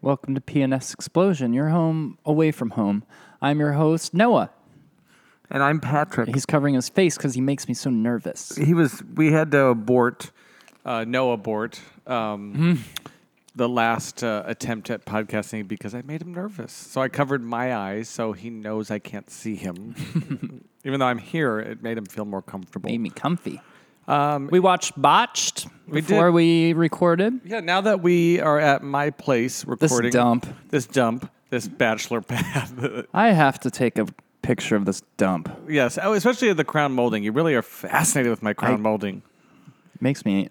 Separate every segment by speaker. Speaker 1: Welcome to PNS Explosion, your home away from home. I'm your host, Noah.
Speaker 2: And I'm Patrick.
Speaker 1: He's covering his face because he makes me so nervous.
Speaker 2: he was. We had to abort.
Speaker 3: uh, no abort um,
Speaker 1: Hmm.
Speaker 3: the last uh, attempt at podcasting because I made him nervous. So I covered my eyes so he knows I can't see him. Even though I'm here, it made him feel more comfortable.
Speaker 1: Made me comfy. we watched Botched before
Speaker 3: Um, did.
Speaker 1: we recorded.
Speaker 3: Yeah, now that we are at my place recording
Speaker 1: dump.
Speaker 3: this dump, this bachelor pad.
Speaker 1: I have to take a picture of this dump.
Speaker 3: yes, oh, especially the crown molding. You really are fascinated with my crown
Speaker 1: I-
Speaker 3: molding.
Speaker 1: makes me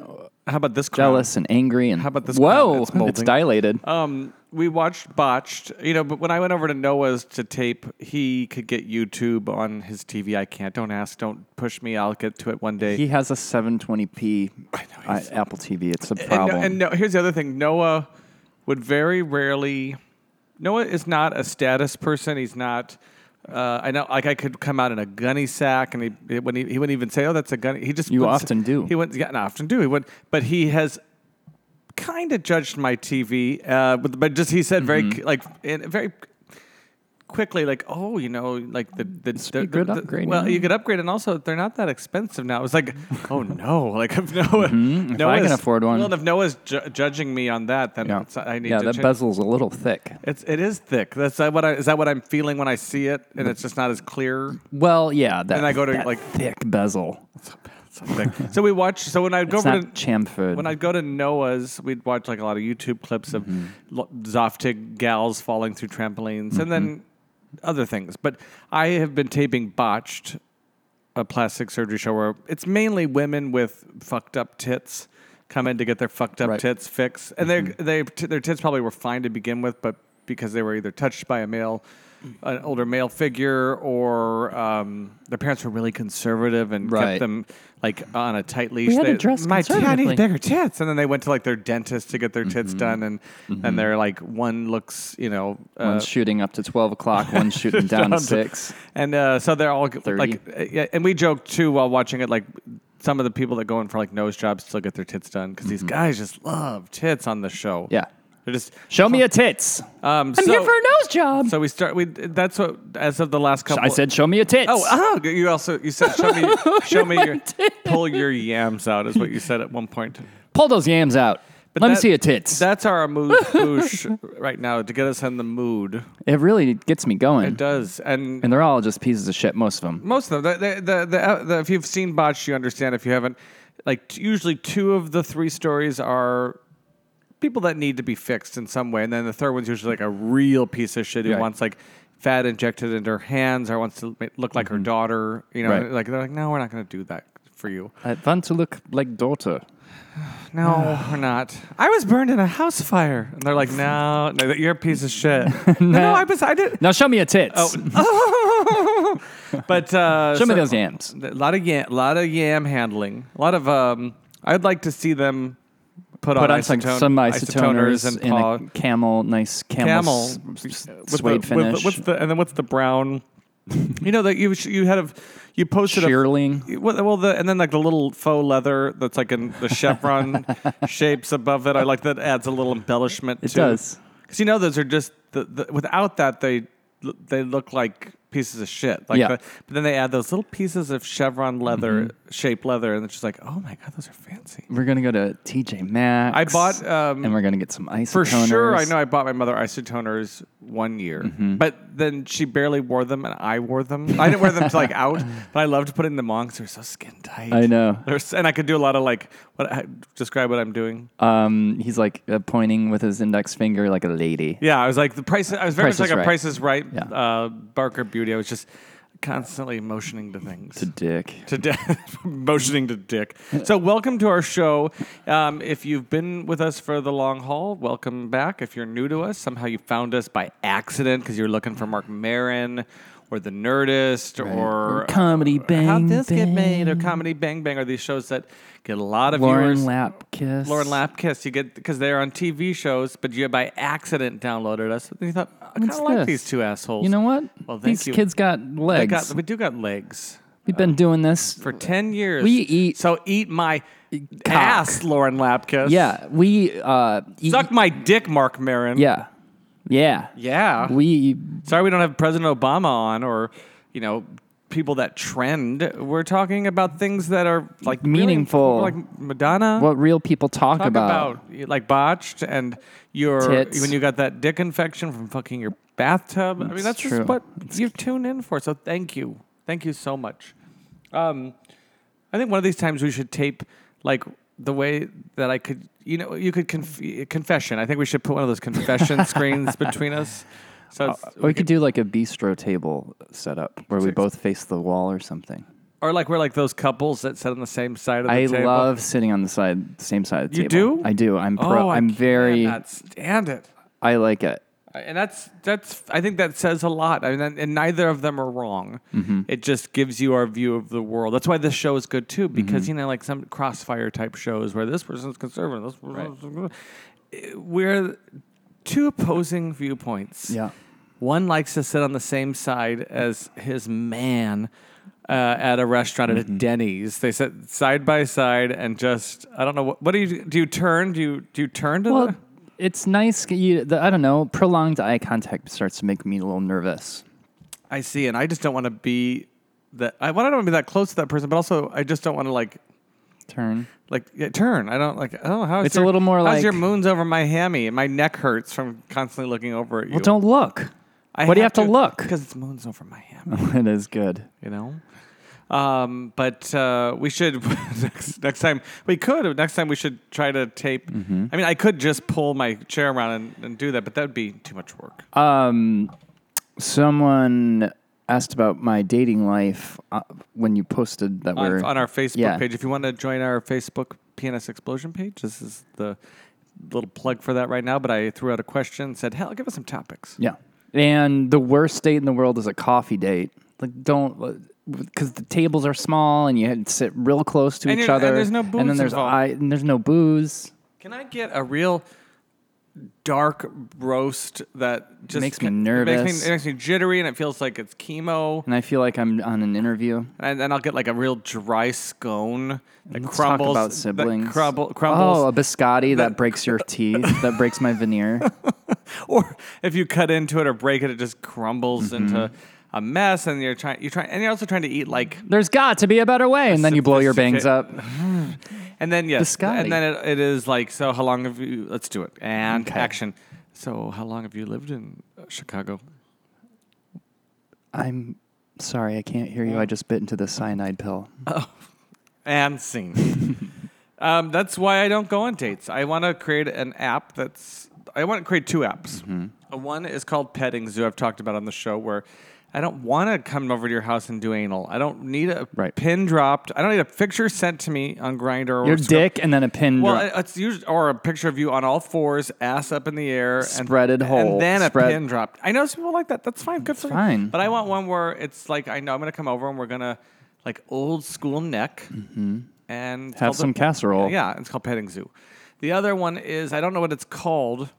Speaker 3: How about this crown?
Speaker 1: jealous and angry. And
Speaker 3: How about this
Speaker 1: Whoa,
Speaker 3: crown? It's molding.
Speaker 1: dilated.
Speaker 3: Um, we watched Botched, you know, but when I went over to Noah's to tape, he could get YouTube on his TV. I can't. Don't ask. Don't push me. I'll get to it one day.
Speaker 1: he has a 720p uh, Apple TV. It's a
Speaker 3: and,
Speaker 1: problem.
Speaker 3: no, and no, here's the other thing Noah would very rarely. Noah is not a status person. He's not. Uh, I know, like I could come out in a gunny sack, and he when he, he wouldn't even say, "Oh, that's a gunny." He just
Speaker 1: You
Speaker 3: wouldn't s-
Speaker 1: often do.
Speaker 3: He wouldn't. Yeah, and I often do. He would, but he has kind of judged my TV. Uh, but, but just he said
Speaker 1: Mm-hmm.
Speaker 3: very c- like in, very quickly, like, "Oh, you know, like the the,
Speaker 1: be
Speaker 3: the-
Speaker 1: good
Speaker 3: the-
Speaker 1: upgrade,
Speaker 3: Well,
Speaker 1: yeah.
Speaker 3: you could upgrade, and also they're not that expensive now. It's like, oh no, like if Noah,
Speaker 1: Mm-hmm. If
Speaker 3: Noah's-
Speaker 1: I can afford one.
Speaker 3: Well, and if Noah's ju- judging me on that, then
Speaker 1: yeah,
Speaker 3: it's, I need
Speaker 1: yeah
Speaker 3: to
Speaker 1: that
Speaker 3: change.
Speaker 1: bezel's a little thick.
Speaker 3: It's it is thick. That's that what I, is that what I'm feeling when I see it, and it's just not as clear.
Speaker 1: Well, yeah. That,
Speaker 3: And I go to,
Speaker 1: that
Speaker 3: like-
Speaker 1: thick bezel.
Speaker 3: It's not thick. so we watch. So when I go
Speaker 1: It's
Speaker 3: over
Speaker 1: not
Speaker 3: to
Speaker 1: chamfered.
Speaker 3: when I'd go to Noah's, we'd watch like a lot of YouTube clips of
Speaker 1: Mm-hmm.
Speaker 3: lo Zoftig gals falling through trampolines and then
Speaker 1: Mm-hmm.
Speaker 3: other things. But I have been taping Botched, a plastic surgery show where it's mainly women with fucked up tits come in to get their fucked up
Speaker 1: Right. Mm-hmm.
Speaker 3: tits fixed. And their they, t- their tits probably were fine to begin with, but because they were either touched by a male, an older male figure, or um, their parents were really conservative and
Speaker 1: Right.
Speaker 3: kept them like on a tight leash.
Speaker 1: had to
Speaker 3: They-
Speaker 1: dress
Speaker 3: my tit- I
Speaker 1: conservatively."
Speaker 3: need bigger tits, and then they went to like their dentist to get their tits
Speaker 1: Mm-hmm.
Speaker 3: done, and and they're like one looks, you know, uh,
Speaker 1: one's shooting up to 12 o'clock, one's shooting down to 6.
Speaker 3: and uh, so they're all g-
Speaker 1: 30.
Speaker 3: like, uh, yeah, and we joked too while watching it, like some of the people that go in for like nose jobs still get their tits done because these guys just love tits on the show.
Speaker 1: Mm-hmm. Yeah.
Speaker 3: they're just
Speaker 1: Show me a tits. I'm
Speaker 3: um. so,
Speaker 1: here for a nose job.
Speaker 3: So we start. We that's what as of the last couple.
Speaker 1: I said, show me a tits.
Speaker 3: Oh, oh, you also you said show me
Speaker 1: Oh,
Speaker 3: show me your pull your yams out is what you said at one point.
Speaker 1: Pull those yams out. Let me
Speaker 3: that-
Speaker 1: see a tits.
Speaker 3: That's our mood push right now to get us in the mood.
Speaker 1: it really gets me going.
Speaker 3: It does, and,
Speaker 1: and they're all just pieces of shit, most of them.
Speaker 3: most of them. The, the, the, uh, the, the, if you've seen Botch, you understand. If you haven't, like t- usually two of the three stories are people that need to be fixed in some way, and then the third one's usually like a real piece of shit who
Speaker 1: Right.
Speaker 3: wants like fat injected into her hands or wants to ma- look like her daughter. You know,
Speaker 1: Mm-hmm. Right.
Speaker 3: like they're like, no, we're not going to do that for you.
Speaker 1: I want to look like daughter.
Speaker 3: No, we're not. I was burned in a house fire, and they're like, no, no you're a piece of shit. no, no, I was, I did.
Speaker 1: Now show me a tits.
Speaker 3: but
Speaker 1: show
Speaker 3: uh,
Speaker 1: me
Speaker 3: Oh, so-
Speaker 1: those yams.
Speaker 3: A lot of yam, lot of yam handling. A lot of um. I'd like to see them put,
Speaker 1: Put on some,
Speaker 3: isotone,
Speaker 1: some isotoners,
Speaker 3: and
Speaker 1: in
Speaker 3: paw,
Speaker 1: a camel, nice camel,
Speaker 3: camel
Speaker 1: s- s-
Speaker 3: with the-
Speaker 1: suede
Speaker 3: with the-
Speaker 1: finish.
Speaker 3: what's the, and then what's the brown? you know that you sh- you had a you posted a
Speaker 1: Shearling.
Speaker 3: well, well, the, and then like the little faux leather that's like in the chevron shapes above it. I like that adds a little embellishment.
Speaker 1: It
Speaker 3: to,
Speaker 1: does.
Speaker 3: because you know those are just the, the without that they l- they look like pieces of shit. Like
Speaker 1: Yeah.
Speaker 3: the, but then they add those little pieces of chevron leather
Speaker 1: Mm-hmm.
Speaker 3: shaped leather, and it's just like, oh my god, those are fancy.
Speaker 1: We're going to go to TJ Maxx.
Speaker 3: I bought um,
Speaker 1: and we're going to get some isotoners.
Speaker 3: for sure. I know I bought my mother isotoners one year,
Speaker 1: Mm-hmm.
Speaker 3: but then she barely wore them, and I wore them. I didn't wear them to like out, but I loved putting them on because they're so skin tight.
Speaker 1: I know.
Speaker 3: They're s- and I could do a lot of like what I, describe what I'm doing.
Speaker 1: Um, he's like uh, pointing with his index finger like a lady.
Speaker 3: Yeah, I was like the price. I was very
Speaker 1: Price
Speaker 3: much
Speaker 1: is
Speaker 3: like
Speaker 1: Right.
Speaker 3: a Price is Right
Speaker 1: Yeah.
Speaker 3: uh, Barker Beauty. I was just constantly motioning to things.
Speaker 1: To dick.
Speaker 3: to di- motioning to Dick. So, welcome to our show. Um, if you've been with us for the long haul, welcome back. If you're new to us, somehow you found us by accident because you're looking for Mark Marin or The Nerdist or,
Speaker 1: Or Comedy Bang
Speaker 3: How'd this get
Speaker 1: Bang.
Speaker 3: made? Or Comedy Bang Bang are these shows that get a lot of
Speaker 1: Lauren
Speaker 3: viewers.
Speaker 1: Lapkiss.
Speaker 3: Lauren Lapkiss, you get because they're on TV shows, but you by accident downloaded us. And you thought, I kind
Speaker 1: What's
Speaker 3: of like
Speaker 1: this?
Speaker 3: these two assholes.
Speaker 1: You know what?
Speaker 3: Well, thank
Speaker 1: These
Speaker 3: you.
Speaker 1: kids got
Speaker 3: They
Speaker 1: legs.
Speaker 3: got, we do got legs.
Speaker 1: We've been doing this
Speaker 3: for 10 years.
Speaker 1: We eat- e
Speaker 3: So eat my ass, Lauren Lapkus.
Speaker 1: Yeah, we uh, eat,
Speaker 3: Suck my dick, Mark Marin.
Speaker 1: yeah, yeah,
Speaker 3: Yeah.
Speaker 1: We
Speaker 3: Sorry we don't have President Obama on or, you know, people that trend. We're talking about things that are like really-
Speaker 1: Meaningful.
Speaker 3: like Madonna.
Speaker 1: what real people talk,
Speaker 3: Talk
Speaker 1: about.
Speaker 3: about, like botched and your
Speaker 1: Tits.
Speaker 3: when you got that dick infection from fucking your bathtub. I mean,
Speaker 1: It's
Speaker 3: that's
Speaker 1: true.
Speaker 3: just what you tune in for. So thank you, thank you so much. Um, I think one of these times we should tape like the way that I could, you know, you could conf- confession. I think we should put one of those confession screens between us. So it's,
Speaker 1: Or we could do like a bistro table setup where we both face the wall or something.
Speaker 3: or like we're like those couples that sit on the same side of the
Speaker 1: I
Speaker 3: table.
Speaker 1: love sitting on the side, same side of the
Speaker 3: You
Speaker 1: table.
Speaker 3: do?
Speaker 1: I do. I'm pro.
Speaker 3: Oh, I
Speaker 1: I'm very.
Speaker 3: cannot stand it.
Speaker 1: I like it.
Speaker 3: and that's that's I think that says a lot. I mean, and, and neither of them are wrong.
Speaker 1: Mm-hmm.
Speaker 3: It just gives you our view of the world. That's why this show is good too,
Speaker 1: Mm-hmm.
Speaker 3: because you know, like some crossfire type shows where this person's conservative, this person's we're two opposing viewpoints.
Speaker 1: Yeah.
Speaker 3: One likes to sit on the same side as his man uh, at a restaurant
Speaker 1: Mm-hmm.
Speaker 3: at a Denny's. They sit side by side and just I don't know what, what do you do you turn do you do you turn to
Speaker 1: Well,
Speaker 3: the,
Speaker 1: it's nice. You, the, I don't know. Prolonged eye contact starts to make me a little nervous.
Speaker 3: I see, and I just don't want to be that. I, well, I don't want to be that close to that person, but also I just don't want to like
Speaker 1: Turn.
Speaker 3: like yeah, turn. I don't like. Oh, how's
Speaker 1: It's a
Speaker 3: your,
Speaker 1: little more
Speaker 3: how's
Speaker 1: like-
Speaker 3: your moons over my hammy? and My neck hurts from constantly looking over at you.
Speaker 1: Well, don't look.
Speaker 3: I
Speaker 1: what do you have to look?
Speaker 3: Because it's moons over my hammy.
Speaker 1: it is good.
Speaker 3: You know. Um, but uh, we should next, next time we could next time we should try to tape.
Speaker 1: Mm-hmm.
Speaker 3: I mean, I could just pull my chair around and, and do that, but that would be too much work.
Speaker 1: Um, someone asked about my dating life uh, when you posted that
Speaker 3: on,
Speaker 1: we're
Speaker 3: on our Facebook
Speaker 1: yeah.
Speaker 3: page. If you want to join our Facebook PNS Explosion page, this is the little plug for that right now. But I threw out a question, said, "Hell, give us some topics."
Speaker 1: Yeah. And the worst date in the world is a coffee date. Like, don't, because the tables are small and you had to sit real close to
Speaker 3: And
Speaker 1: each
Speaker 3: you're- and
Speaker 1: other.
Speaker 3: there's no
Speaker 1: And then
Speaker 3: booze
Speaker 1: there's,
Speaker 3: involved.
Speaker 1: eye, and there's no booze.
Speaker 3: Can I get a real dark roast that just
Speaker 1: Makes me
Speaker 3: it Makes
Speaker 1: nervous.
Speaker 3: me, it makes me jittery, and it feels like it's chemo.
Speaker 1: And I feel like I'm on an interview.
Speaker 3: And then I'll get like a real dry scone that
Speaker 1: Let's
Speaker 3: crumbles.
Speaker 1: talk about
Speaker 3: that
Speaker 1: siblings.
Speaker 3: crumble, crumbles.
Speaker 1: Oh, a biscotti that breaks your teeth, that breaks my veneer.
Speaker 3: or if you cut into it or break it, it just crumbles into
Speaker 1: Mm-hmm.
Speaker 3: a mess. And you're trying, you're trying, and you're also trying to eat like
Speaker 1: There's got to be a better way. And then you blow your bangs up.
Speaker 3: And then yes,
Speaker 1: Biscotti.
Speaker 3: and then it, it is like so. How long have you? Let's do it and
Speaker 1: Okay.
Speaker 3: action. So how long have you lived in uh, Chicago?
Speaker 1: I'm sorry, I can't hear you. I just bit into the cyanide pill.
Speaker 3: And scene. um, that's why I don't go on dates. I want to create an app that's. I want to create two apps.
Speaker 1: Mm-hmm.
Speaker 3: Uh, One is called Petting Zoo. I've talked about on the show where. I don't want to come over to your house and do anal. I don't need a
Speaker 1: Right.
Speaker 3: pin dropped. I don't need a picture sent to me on Grinder or
Speaker 1: Your
Speaker 3: Scruff-
Speaker 1: dick and then a pin
Speaker 3: Well,
Speaker 1: drop.
Speaker 3: it- it's usually or a picture of you on all fours, ass up in the air,
Speaker 1: Spreaded
Speaker 3: and,
Speaker 1: whole.
Speaker 3: and then
Speaker 1: Spread-
Speaker 3: a pin dropped. I know some people like that. That's fine. Good for
Speaker 1: fine.
Speaker 3: You. But I want one where it's like I know I'm gonna come over and we're gonna like old school neck and
Speaker 1: Mm-hmm. Have
Speaker 3: tell
Speaker 1: some
Speaker 3: the-
Speaker 1: casserole.
Speaker 3: Yeah, it's called petting zoo. The other one is I don't know what it's called,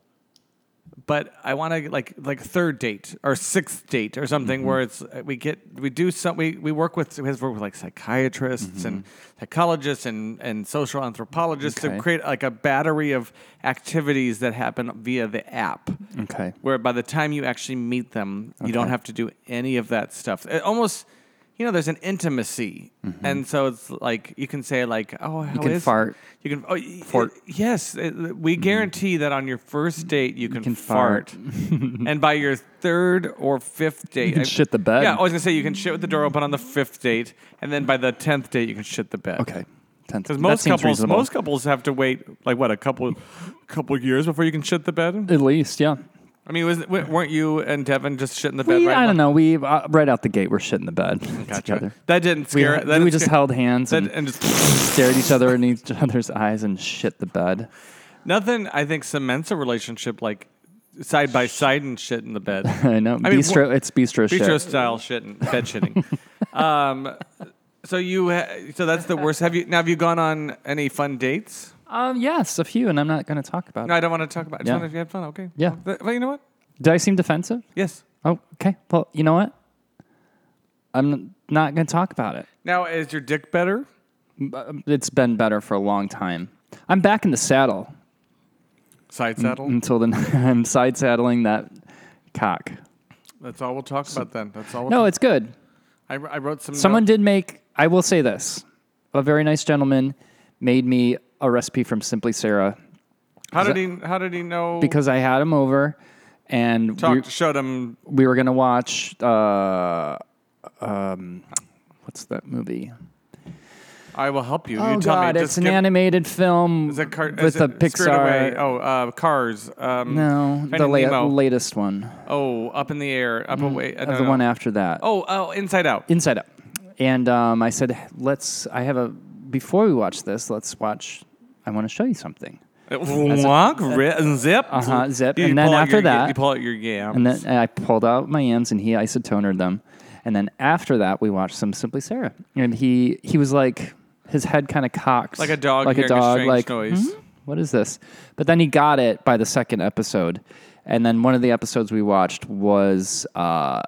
Speaker 3: but I want to like like third date or sixth date or something where it's we get we do some we, we work with we have to work with like psychiatrists and psychologists and and social anthropologists
Speaker 1: Okay.
Speaker 3: to create like a battery of activities that happen via the app.
Speaker 1: Okay.
Speaker 3: Where by the time you actually meet them, you don't have to do any of that stuff. It almost, you know, there's an intimacy, and so it's like you can say like, "Oh, how
Speaker 1: Mm-hmm. can
Speaker 3: is-
Speaker 1: fart.
Speaker 3: You can oh, y-
Speaker 1: Fart. Mm-hmm.
Speaker 3: yes, it- we guarantee that on your first date you can,
Speaker 1: can
Speaker 3: fart,
Speaker 1: fart.
Speaker 3: and by your third or fifth date, you
Speaker 1: can shit the bed.
Speaker 3: Yeah, I was gonna say you can shit with the door open on the fifth date, and then by the tenth date you can shit the bed.
Speaker 1: Okay. Tenth.
Speaker 3: Because
Speaker 1: that
Speaker 3: most
Speaker 1: seems
Speaker 3: couples,
Speaker 1: reasonable.
Speaker 3: most couples have to wait like what a couple, couple years before you can shit the bed.
Speaker 1: at least, yeah.
Speaker 3: I mean, was, w- weren't you and Devin just shitting the bed?
Speaker 1: We,
Speaker 3: right
Speaker 1: I don't know. We uh, right out the gate, we're shit in the bed together.
Speaker 3: That didn't
Speaker 1: We,
Speaker 3: scare. that
Speaker 1: we
Speaker 3: didn't
Speaker 1: just
Speaker 3: scare-
Speaker 1: held hands
Speaker 3: that-
Speaker 1: and
Speaker 3: and just
Speaker 1: stared each other in each other's eyes and shit the bed.
Speaker 3: nothing. I think cements a relationship like side by side and shit in the bed,
Speaker 1: I know.
Speaker 3: I mean,
Speaker 1: bistro.
Speaker 3: wha-
Speaker 1: it's bistro,
Speaker 3: bistro
Speaker 1: shit.
Speaker 3: style shitting, bed shitting. um, so you, ha- so that's the worst. Have you now? Have you gone on any fun dates?
Speaker 1: Um, yes, a few, and I'm not going to talk about
Speaker 3: No,
Speaker 1: it.
Speaker 3: I don't want to talk about. it. I just
Speaker 1: Yeah.
Speaker 3: wondered if you had fun. Okay.
Speaker 1: Yeah.
Speaker 3: Well, th- well, you know what?
Speaker 1: Did I seem defensive?
Speaker 3: Yes.
Speaker 1: Oh, okay. Well, you know what? I'm not going to talk about it.
Speaker 3: Now, is your dick better?
Speaker 1: uh, um, It's been better for a long time. I'm back in the saddle
Speaker 3: Side saddle?
Speaker 1: until then. I'm side saddling that cock.
Speaker 3: That's all we'll talk about then. That's all. We'll
Speaker 1: No, it's good.
Speaker 3: I, I wrote some.
Speaker 1: Someone
Speaker 3: notes.
Speaker 1: did make, I will say this a very nice gentleman made me a recipe from Simply Sarah
Speaker 3: How did he? How did he know?
Speaker 1: because I had him over and we,
Speaker 3: talk, showed him.
Speaker 1: we were going to watch, uh, um, what's that movie?
Speaker 3: I will help you.
Speaker 1: Oh,
Speaker 3: you tell
Speaker 1: God,
Speaker 3: me.
Speaker 1: it's
Speaker 3: Just
Speaker 1: an
Speaker 3: give-
Speaker 1: animated film
Speaker 3: Is it car-
Speaker 1: with
Speaker 3: is
Speaker 1: a
Speaker 3: it Spirit Away?
Speaker 1: Pixar.
Speaker 3: Oh, uh, Cars. Um,
Speaker 1: No, the
Speaker 3: Finding
Speaker 1: la-
Speaker 3: Nemo.
Speaker 1: latest one.
Speaker 3: Oh, up in the air, up away. uh, no,
Speaker 1: the
Speaker 3: no.
Speaker 1: one after that.
Speaker 3: Oh, oh, Inside Out.
Speaker 1: Inside Up. And um, I said, let's, I have a, before we watch this, let's watch, I want to show you something.
Speaker 3: Walk, ri- zip,
Speaker 1: Uh-huh, zip.
Speaker 3: You
Speaker 1: And then
Speaker 3: pull out
Speaker 1: after
Speaker 3: your, ga-
Speaker 1: that-
Speaker 3: you pull out your yam.
Speaker 1: And then and I pulled out my yams and he isotonered them. And then after that, we watched some Simply Sarah. And he, he was like, his head kind of cocked.
Speaker 3: like a dog,
Speaker 1: Like a
Speaker 3: hearing a
Speaker 1: dog,
Speaker 3: strange
Speaker 1: like, "Hmm?
Speaker 3: noise.
Speaker 1: what is this? But then he got it by the second episode. And then one of the episodes we watched was uh,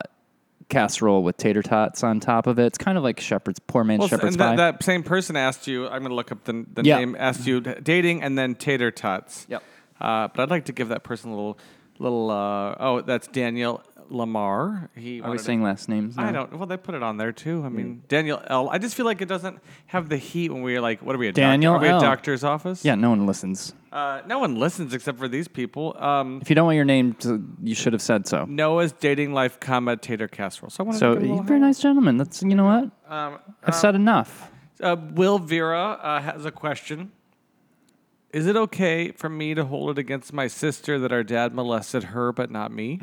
Speaker 1: casserole with tater tots on top of it. It's kind of like shepherd's poor man
Speaker 3: Well,
Speaker 1: shepherd's
Speaker 3: and that,
Speaker 1: pie.
Speaker 3: that same person asked you. I'm going to look up the, the
Speaker 1: Yeah.
Speaker 3: name. Asked you d- dating and then tater tots.
Speaker 1: Yep.
Speaker 3: Uh, but I'd like to give that person a little, little. Uh, oh, that's Daniel Lamar.
Speaker 1: Are
Speaker 3: He.
Speaker 1: we
Speaker 3: wanted to-
Speaker 1: saying last names?
Speaker 3: I
Speaker 1: now?
Speaker 3: don't. Well, they put it on there too. I mean, Daniel L. I just feel like it doesn't have the heat when we're like, what are we? A
Speaker 1: Daniel
Speaker 3: doctor? Are we
Speaker 1: L.
Speaker 3: a doctor's office?
Speaker 1: Yeah, no one listens.
Speaker 3: Uh, no one listens except for these people. Um,
Speaker 1: If you don't want your name, to, you should have said so.
Speaker 3: Noah's dating life, comma tater casserole. So I want to.
Speaker 1: So
Speaker 3: give
Speaker 1: you're
Speaker 3: him
Speaker 1: a
Speaker 3: a
Speaker 1: very nice gentleman. That's you know what
Speaker 3: little- um,
Speaker 1: I've said enough.
Speaker 3: Uh, Will Vera uh, has a question. Is it okay for me to hold it against my sister that our dad molested her but not me?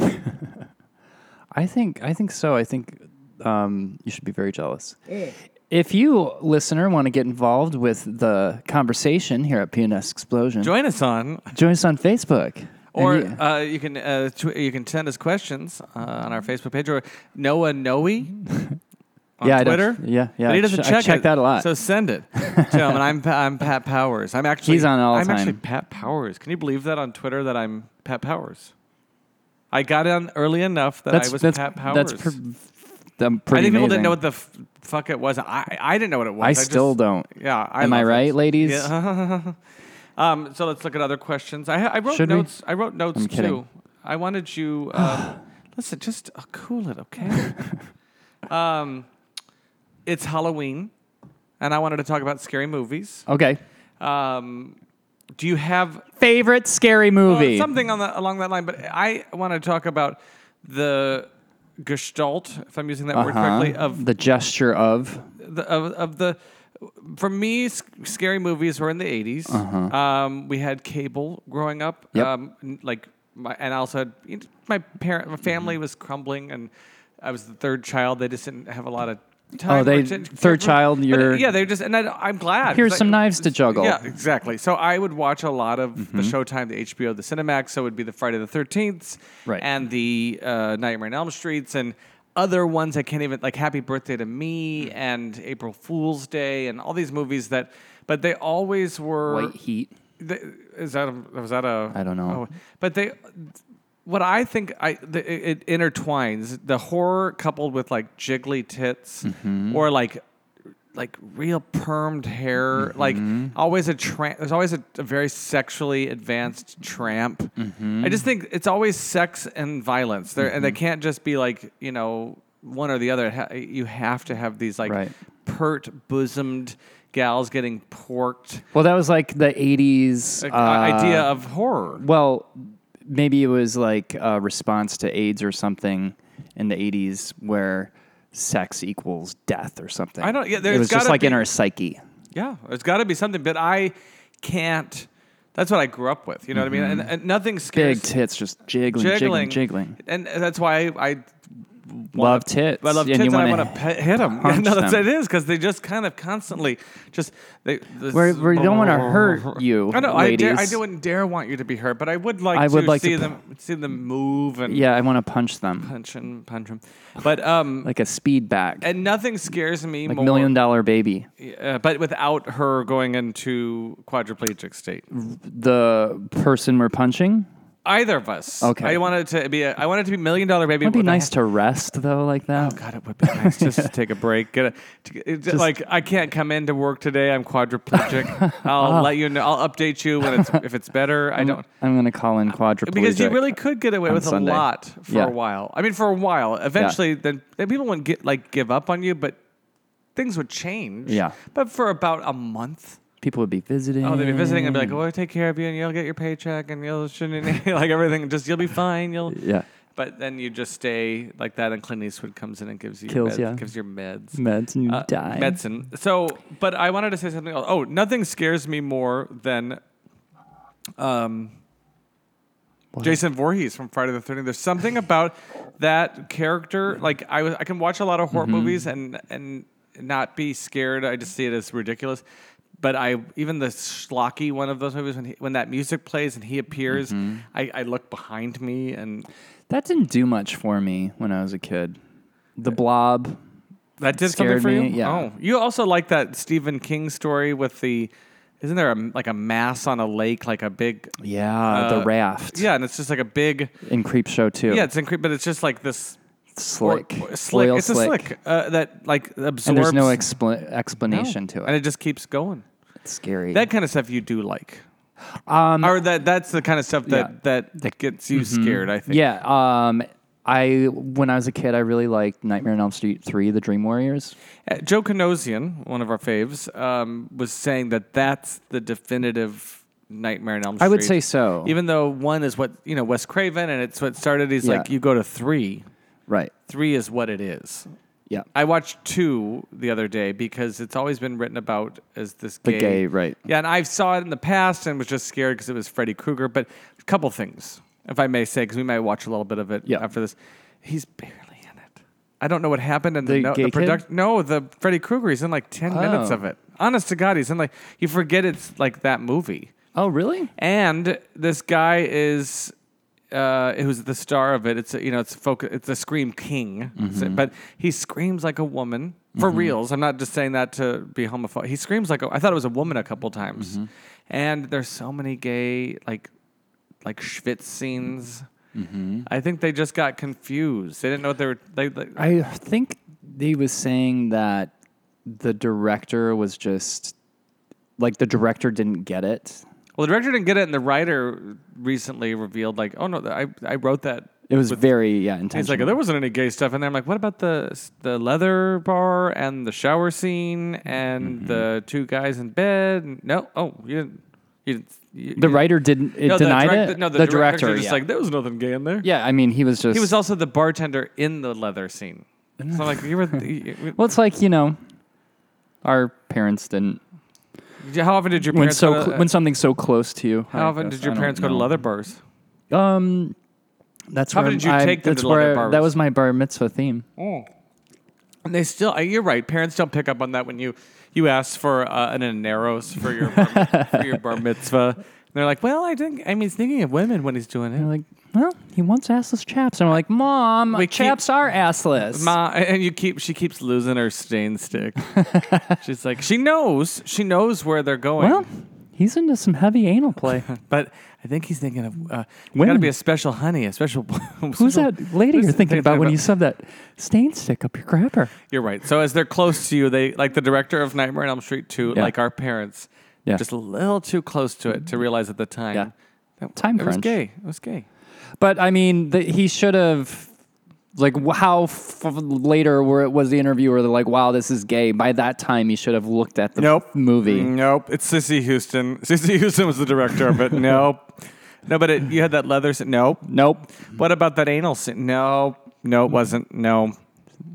Speaker 1: I think I think so. I think um, you should be very jealous. If you listener want to get involved with the conversation here at PNS Explosion, join,
Speaker 3: Join us on,
Speaker 1: us on Facebook. And
Speaker 3: or
Speaker 1: you-
Speaker 3: uh, you can uh, tw- you can send us questions uh, on our Facebook page or Noah Noe on
Speaker 1: yeah, I don't-
Speaker 3: Twitter.
Speaker 1: yeah, yeah.
Speaker 3: But he
Speaker 1: I
Speaker 3: doesn't
Speaker 1: ch-
Speaker 3: check
Speaker 1: I check
Speaker 3: it,
Speaker 1: that a lot.
Speaker 3: So uh, send it to him. And I'm I'm Pat Powers. I'm actually
Speaker 1: He's on all the
Speaker 3: I'm actually
Speaker 1: time.
Speaker 3: Pat Powers. Can you believe that on Twitter that I'm Pat Powers? I got on early enough that I was
Speaker 1: that's
Speaker 3: Pat Powers.
Speaker 1: that's pre- I'm pretty
Speaker 3: I think people
Speaker 1: amazing.
Speaker 3: didn't know what the f- fuck it was. I I didn't know what it was.
Speaker 1: I still
Speaker 3: just-
Speaker 1: don't.
Speaker 3: Yeah, I
Speaker 1: Am I
Speaker 3: love it.
Speaker 1: right, ladies?
Speaker 3: Yeah. uh-huh. um, so let's look at other questions. I ha- I wrote
Speaker 1: Should we?
Speaker 3: notes. I wrote notes
Speaker 1: I'm
Speaker 3: too.
Speaker 1: kidding.
Speaker 3: I wanted you. Um, listen, just uh, cool it, okay? um, it's Halloween, and I wanted to talk about scary movies.
Speaker 1: Okay.
Speaker 3: Um, do you have
Speaker 1: Favorite scary
Speaker 3: well,
Speaker 1: movie.
Speaker 3: something on that along that line, but I want to talk about the gestalt, if I'm using that word
Speaker 1: Uh-huh.
Speaker 3: correctly, of
Speaker 1: the gesture of
Speaker 3: the, of, of the. For me, s- scary movies were in the 80s. Um, we had cable growing up.
Speaker 1: Uh-huh. Yep.
Speaker 3: Um, n- like, my, and I also had you know, my parent, my family
Speaker 1: Mm-hmm.
Speaker 3: was crumbling, and I was the third child. They just didn't have a lot of time.
Speaker 1: Oh, they-
Speaker 3: or t-
Speaker 1: third
Speaker 3: but-
Speaker 1: child,
Speaker 3: but,
Speaker 1: you're-
Speaker 3: yeah. They just and I, am glad.
Speaker 1: Here's
Speaker 3: Like,
Speaker 1: some knives to
Speaker 3: it's-
Speaker 1: juggle.
Speaker 3: Yeah, exactly. So I would watch a lot of
Speaker 1: Mm-hmm.
Speaker 3: the Showtime, the HBO, the Cinemax. So it would be the Friday the Thirteenth,
Speaker 1: Right.
Speaker 3: and the uh, Nightmare on Elm Streets, and other ones I can't even like Happy Birthday to Me
Speaker 1: Mm.
Speaker 3: and April Fool's Day, and all these movies that. But they always were.
Speaker 1: White Heat.
Speaker 3: Th- is that a, was that a oh,
Speaker 1: I don't know.
Speaker 3: but they what I think I the, it, it intertwines the horror coupled with like jiggly tits
Speaker 1: Mm-hmm.
Speaker 3: or like like real permed hair like
Speaker 1: Mm-hmm.
Speaker 3: always a tramp there's always a, a very sexually advanced tramp
Speaker 1: Mm-hmm.
Speaker 3: i just think it's always sex and violence there and they can't just be like you know one or the other It ha- you have to have these like
Speaker 1: Right.
Speaker 3: pert bosomed gals getting porked
Speaker 1: Well, that was like the 80s
Speaker 3: like,
Speaker 1: uh,
Speaker 3: i- idea of horror.
Speaker 1: Well, maybe it was like a response to AIDS or something in the 80s where sex equals death or something.
Speaker 3: I don't- yeah,
Speaker 1: it
Speaker 3: there's
Speaker 1: was just
Speaker 3: gotta
Speaker 1: like in
Speaker 3: be-
Speaker 1: our psyche.
Speaker 3: Yeah, there's got to be something, but I can't. That's what I grew up with. You know what I mean? And, and nothing scares.
Speaker 1: Mm-hmm. Big tits just jiggling, jiggling,
Speaker 3: jiggling,
Speaker 1: jiggling.
Speaker 3: and that's why I, I
Speaker 1: Love tits.
Speaker 3: I love
Speaker 1: and
Speaker 3: tits, and I
Speaker 1: wanna
Speaker 3: want to pe- hit them.
Speaker 1: punch
Speaker 3: no, that's
Speaker 1: them.
Speaker 3: it is because they just kind of constantly just they. This,
Speaker 1: Where- where you don't wanna hurt you,
Speaker 3: I know. I, dare, I
Speaker 1: ladies.
Speaker 3: wouldn't dare want you to be hurt, but I would like
Speaker 1: I
Speaker 3: to
Speaker 1: would like to
Speaker 3: see
Speaker 1: pu-
Speaker 3: them see them move and
Speaker 1: Yeah, I want to punch them
Speaker 3: punch and punch them. But um,
Speaker 1: like a speed bag,
Speaker 3: and nothing scares me
Speaker 1: like
Speaker 3: more.
Speaker 1: million dollar baby.
Speaker 3: uh, but without her going into quadriplegic state.
Speaker 1: The person we're punching.
Speaker 3: Either of us.
Speaker 1: Okay.
Speaker 3: I wanted to be. A, I wanted to be Million Dollar Baby.
Speaker 1: It'd be
Speaker 3: with a
Speaker 1: nice to rest though, like that.
Speaker 3: Oh God, it would be nice just to take a break. Get a, to, it- like I can't come into work today. I'm quadriplegic. I'll let you know. I'll update you when it's if it's better. I don't
Speaker 1: Ah. I'm gonna call in quadriplegic.
Speaker 3: because you really could get away
Speaker 1: on
Speaker 3: with
Speaker 1: Sunday.
Speaker 3: a lot for
Speaker 1: Yeah.
Speaker 3: a while. I mean, for a while. Eventually, then, then people wouldn't get like give up on you, but things would change.
Speaker 1: Yeah.
Speaker 3: But for about a month.
Speaker 1: people would be visiting.
Speaker 3: Oh, they'd be visiting and be like,
Speaker 1: Mm.
Speaker 3: "Well, I take care of you, and you'll get your paycheck, and you'll shouldn't like everything. Just you'll be fine. You'll
Speaker 1: yeah,
Speaker 3: but then you just stay like that, and Clint Eastwood comes in and gives you
Speaker 1: Kills
Speaker 3: your meds,
Speaker 1: ya.
Speaker 3: gives your meds,
Speaker 1: meds and you
Speaker 3: Uh,
Speaker 1: die.
Speaker 3: medicine. So, but I wanted to say something else. Oh, nothing scares me more than um, Jason Voorhees from Friday the Thirteenth. There's something about that character. Like I, was- I can watch a lot of horror
Speaker 1: Mm-hmm.
Speaker 3: movies and and not be scared. I just see it as ridiculous. But I even the schlocky one of those movies when he, when that music plays and he appears,
Speaker 1: Mm-hmm.
Speaker 3: I, I look behind me and
Speaker 1: That didn't do much for me when I was a kid. The Blob.
Speaker 3: That did something
Speaker 1: scared
Speaker 3: for you.
Speaker 1: me, yeah.
Speaker 3: Oh, you also like that Stephen King story with the, isn't there a, like a mass on a lake, like a big,
Speaker 1: Yeah,
Speaker 3: Uh,
Speaker 1: the raft.
Speaker 3: yeah, and it's just like a big,
Speaker 1: in Creep Show too.
Speaker 3: yeah, it's incre- but it's just like this or-
Speaker 1: slick,
Speaker 3: or- slick.
Speaker 1: Oil
Speaker 3: It's a slick uh, that like absorbs.
Speaker 1: and there's no
Speaker 3: No.
Speaker 1: expla- explanation to
Speaker 3: and
Speaker 1: it.
Speaker 3: it just keeps going.
Speaker 1: It's scary.
Speaker 3: That kind of stuff you do like,
Speaker 1: um,
Speaker 3: or that that's the kind of stuff that
Speaker 1: Yeah. Mm-hmm.
Speaker 3: that, that gets you scared. I think.
Speaker 1: yeah. Um, I when I was a kid, I really liked Nightmare on Elm Street three, The Dream Warriors.
Speaker 3: Uh, Joe Kanosian, one of our faves, um, was saying that that's the definitive Nightmare on Elm Street.
Speaker 1: I would say so.
Speaker 3: Even though one is what you know, Wes Craven, and it's what started. He's
Speaker 1: Yeah.
Speaker 3: like, you go to three.
Speaker 1: right.
Speaker 3: Three is what it is.
Speaker 1: Yeah.
Speaker 3: I watched two the other day because it's always been written about as this
Speaker 1: The
Speaker 3: gay,
Speaker 1: gay, right.
Speaker 3: Yeah, and I saw it in the past and was just scared because it was Freddy Krueger. But a couple things, if I may say, because we might watch a little bit of it
Speaker 1: Yeah.
Speaker 3: after this. He's barely in it. I don't know what happened in the,
Speaker 1: The
Speaker 3: no,
Speaker 1: gay
Speaker 3: the
Speaker 1: kid?
Speaker 3: product. No, the Freddy Krueger. He's in like ten minutes
Speaker 1: Oh.
Speaker 3: of it. Honest to God, he's in like you forget it's like that movie.
Speaker 1: Oh, really?
Speaker 3: And this guy is uh, who's the star of it. It's a, you know it's focus. It's a scream king, So- but he screams like a woman for reals. I'm not just saying that to be homophobic. He screams like a, I thought it was a woman a couple times. And there's so many gay like like schwitz scenes. I think they just got confused. They didn't know what they were. They, they
Speaker 1: I think he was saying that the director was just like the director didn't get it.
Speaker 3: well, the director didn't get it, and the writer recently revealed like, oh no, I I wrote that
Speaker 1: It was very yeah
Speaker 3: He's like, "Oh,
Speaker 1: intentional.
Speaker 3: there wasn't any gay stuff in there. I'm like, what about the the leather bar and the shower scene and
Speaker 1: Mm-hmm.
Speaker 3: the two guys in bed? And- No, oh, you didn't. You didn't you,
Speaker 1: the writer didn't it
Speaker 3: no, the
Speaker 1: denied
Speaker 3: direct-
Speaker 1: it.
Speaker 3: No, the, director,
Speaker 1: director
Speaker 3: just
Speaker 1: yeah.
Speaker 3: like there was nothing gay in there.
Speaker 1: yeah. I mean, he was just
Speaker 3: he was also the bartender in the leather scene. So I'm like, you were. you- you-
Speaker 1: Well, it's like you know, our parents didn't.
Speaker 3: how often did your
Speaker 1: When
Speaker 3: parents?
Speaker 1: so
Speaker 3: go to,
Speaker 1: cl- when something's so close to you. I
Speaker 3: how often
Speaker 1: guess.
Speaker 3: did your
Speaker 1: I don't
Speaker 3: parents go to
Speaker 1: know.
Speaker 3: leather bars?
Speaker 1: Um, that's
Speaker 3: How
Speaker 1: where
Speaker 3: often did you
Speaker 1: I-
Speaker 3: take them
Speaker 1: that's
Speaker 3: to leather
Speaker 1: where-
Speaker 3: bars?
Speaker 1: That was my bar mitzvah theme.
Speaker 3: And they still, I- you're right. Parents don't pick up on that when you you ask for uh, an aneros for your bar, for your bar mitzvah. And they're like, well, I think I mean, he's thinking of women when he's doing
Speaker 1: They're
Speaker 3: it.
Speaker 1: like, well, he wants assless chaps, and we're like, mom,
Speaker 3: We keep-
Speaker 1: chaps are assless.
Speaker 3: Ma, and you keep she keeps losing her stain stick. She's like, she knows, she knows where they're going.
Speaker 1: well, he's into some heavy anal play.
Speaker 3: but I think he's thinking of uh, there's got to
Speaker 1: Women.
Speaker 3: be a special honey, a special.
Speaker 1: Who's that lady you're thinking about when you sub that stain stick up your crapper?
Speaker 3: You're right. So as they're close to you, they like the director of Nightmare on Elm Street two,
Speaker 1: Yeah.
Speaker 3: like our parents,
Speaker 1: Yeah.
Speaker 3: just a little too close to it to realize at the time.
Speaker 1: Yeah.
Speaker 3: that
Speaker 1: Time
Speaker 3: It was
Speaker 1: crunch.
Speaker 3: gay. It was gay.
Speaker 1: But I mean, the, he should have. Like wh- how f- later where it was the interview where they're like, "Wow, this is gay." By that time, he should have looked at the
Speaker 3: Nope. Mm.
Speaker 1: movie.
Speaker 3: Nope. It's Sissy Houston. Sissy Houston was the director, but nope. No, but it, you had that leather. Scene. Nope.
Speaker 1: Nope.
Speaker 3: What about that anal scene? No. No, it wasn't. No.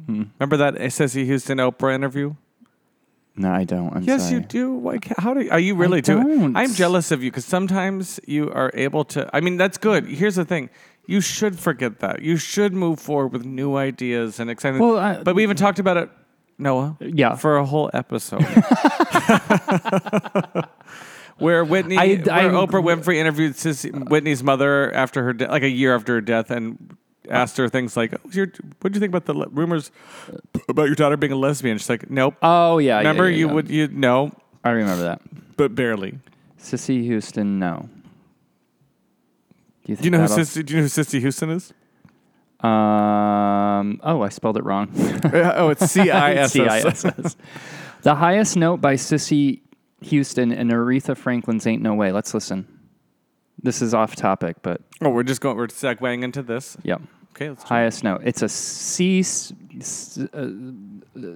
Speaker 1: Hmm.
Speaker 3: Remember that Sissy Houston Oprah interview?
Speaker 1: No, I don't. I'm
Speaker 3: Yes,
Speaker 1: sorry.
Speaker 3: you do. Why? ca- How do? You, are you really doing?
Speaker 1: don't.
Speaker 3: I'm jealous of you because sometimes you are able to. I mean, that's good. Here's the thing: you should forget that. You should move forward with new ideas and exciting.
Speaker 1: Well, I-
Speaker 3: but we even talked about it, Noah.
Speaker 1: Yeah.
Speaker 3: for a whole episode. Where Whitney,
Speaker 1: I-
Speaker 3: where
Speaker 1: I-
Speaker 3: Oprah Winfrey interviewed Sissy, Whitney Whitney's mother after her, de- like a year after her death, and asked her things like, "What do you think about the le- rumors about your daughter being a lesbian?" She's like, "Nope."
Speaker 1: Oh yeah. yeah,
Speaker 3: Remember,
Speaker 1: yeah,
Speaker 3: you
Speaker 1: yeah.
Speaker 3: would you know,
Speaker 1: I remember that.
Speaker 3: but barely.
Speaker 1: Sissy Houston, no. Do you,
Speaker 3: Do you know who
Speaker 1: that'll-
Speaker 3: Sissy, do you know who Sissy Houston is?
Speaker 1: Um, oh, I spelled it wrong.
Speaker 3: oh, it's C I S S.
Speaker 1: T-I-S-S. the highest note by Sissy Houston and Aretha Franklin's "Ain't No Way." Let's listen. This is off topic, but
Speaker 3: Oh, we're just going. We're segueing into this.
Speaker 1: yeah,
Speaker 3: Okay, let's. Do it.
Speaker 1: highest note. It's a C s- s- uh,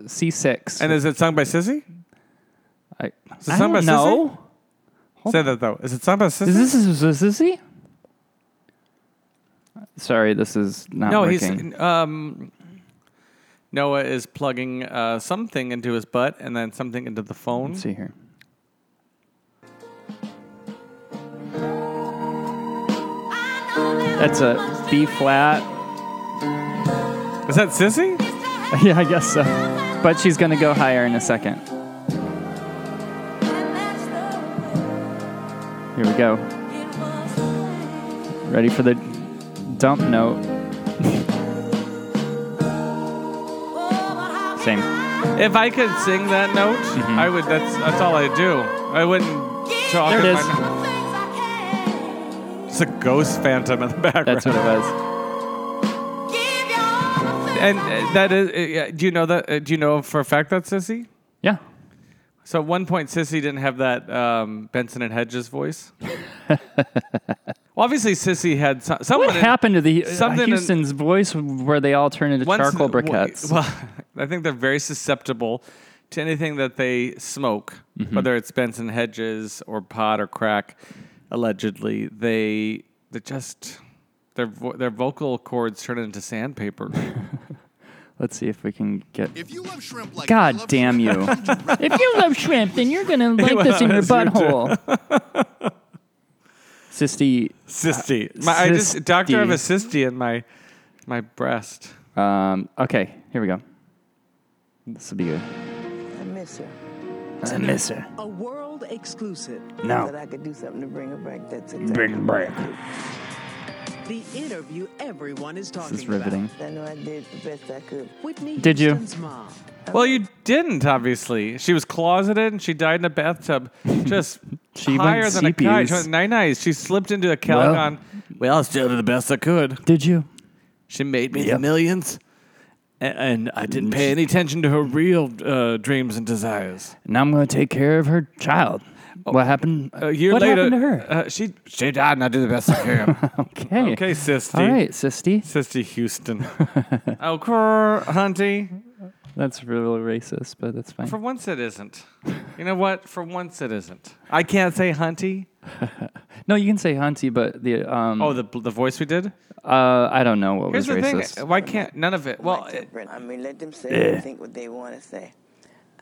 Speaker 1: C six.
Speaker 3: And is it sung by Sissy?
Speaker 1: I,
Speaker 3: it
Speaker 1: I
Speaker 3: sung by
Speaker 1: don't
Speaker 3: Sissy?
Speaker 1: know.
Speaker 3: Say that though. Is it sung by Sissy?
Speaker 1: Is this is this Sissy? Sorry, this is not
Speaker 3: no,
Speaker 1: working.
Speaker 3: he's um. Noah is plugging uh, something into his butt and then something into the phone.
Speaker 1: Let's see here. That's a B flat.
Speaker 3: Is that Sissy?
Speaker 1: Yeah, I guess so. But she's going to go higher in a second. Here we go. Ready for the dump note. Same.
Speaker 3: If I could sing that note, I would. That's that's all I do. I wouldn't talk.
Speaker 1: Mm-hmm. There it is.
Speaker 3: in My, it's a ghost phantom in the background.
Speaker 1: That's what it was.
Speaker 3: And uh, that is. Uh, yeah, do you know that? Uh, do you know for a fact that Sissy?
Speaker 1: Yeah.
Speaker 3: So at one point, Sissy didn't have that um, Benson and Hedges voice. well, obviously, Sissy had so- someone.
Speaker 1: What
Speaker 3: in-
Speaker 1: happened to the
Speaker 3: something
Speaker 1: uh,
Speaker 3: in-
Speaker 1: Houston's voice where they all turned into
Speaker 3: once-
Speaker 1: charcoal
Speaker 3: w-
Speaker 1: briquettes?
Speaker 3: Well, I think they're very susceptible to anything that they smoke,
Speaker 1: Mm-hmm.
Speaker 3: whether it's Benson and Hedges or pot or crack. Allegedly, they they just their vo- their vocal cords turn into sandpaper.
Speaker 1: Let's see if we can get.
Speaker 4: If you love shrimp like I
Speaker 1: God
Speaker 4: love
Speaker 1: damn
Speaker 4: shrimp,
Speaker 1: you. if you love shrimp, then you're going to like this in your
Speaker 3: Well, that's your
Speaker 1: butthole. Sisty,
Speaker 3: Sissy, my, I just doctor of a sissy in my my breast.
Speaker 1: um, okay, here we go. This will be good.
Speaker 5: I miss her.
Speaker 1: I miss her.
Speaker 5: A world exclusive.
Speaker 1: No.
Speaker 5: That I could do something to bring her back. That's exactly
Speaker 1: Bring her
Speaker 5: what I did. The interview everyone is talking
Speaker 1: This is riveting.
Speaker 5: about. I know I did the best I could. Whitney
Speaker 1: Did you?
Speaker 5: Houston's mom.
Speaker 3: Well, you didn't, obviously. She was closeted and she died in a bathtub. Just
Speaker 1: She went
Speaker 3: higher than a kite. She
Speaker 1: seepies.
Speaker 3: went nine eyes. She slipped into a Calgon. Well, I still did the best I could.
Speaker 1: Did you?
Speaker 3: She made me the millions. a- And I didn't pay any attention to her real uh, dreams and desires.
Speaker 1: Now I'm going to take care of her child. What happened?
Speaker 3: A year
Speaker 1: what
Speaker 3: later,
Speaker 1: happened to her?
Speaker 3: Uh, she she died, and I did the best I could.
Speaker 1: okay.
Speaker 3: okay, Sisty.
Speaker 1: All right, Sisty.
Speaker 3: Sisty Houston. okay, hunty.
Speaker 1: That's really racist, but that's fine.
Speaker 3: For once, it isn't. You know what? For once, it isn't. I can't say hunty.
Speaker 1: No, you can say hunty, but the um,
Speaker 3: Oh, the the voice we did.
Speaker 1: uh, I don't know what
Speaker 3: Here's
Speaker 1: was
Speaker 3: the
Speaker 1: racist.
Speaker 3: thing. Why can't none of it? Well,
Speaker 5: My
Speaker 3: it,
Speaker 5: temperament. I mean, let them say and think what they want to say.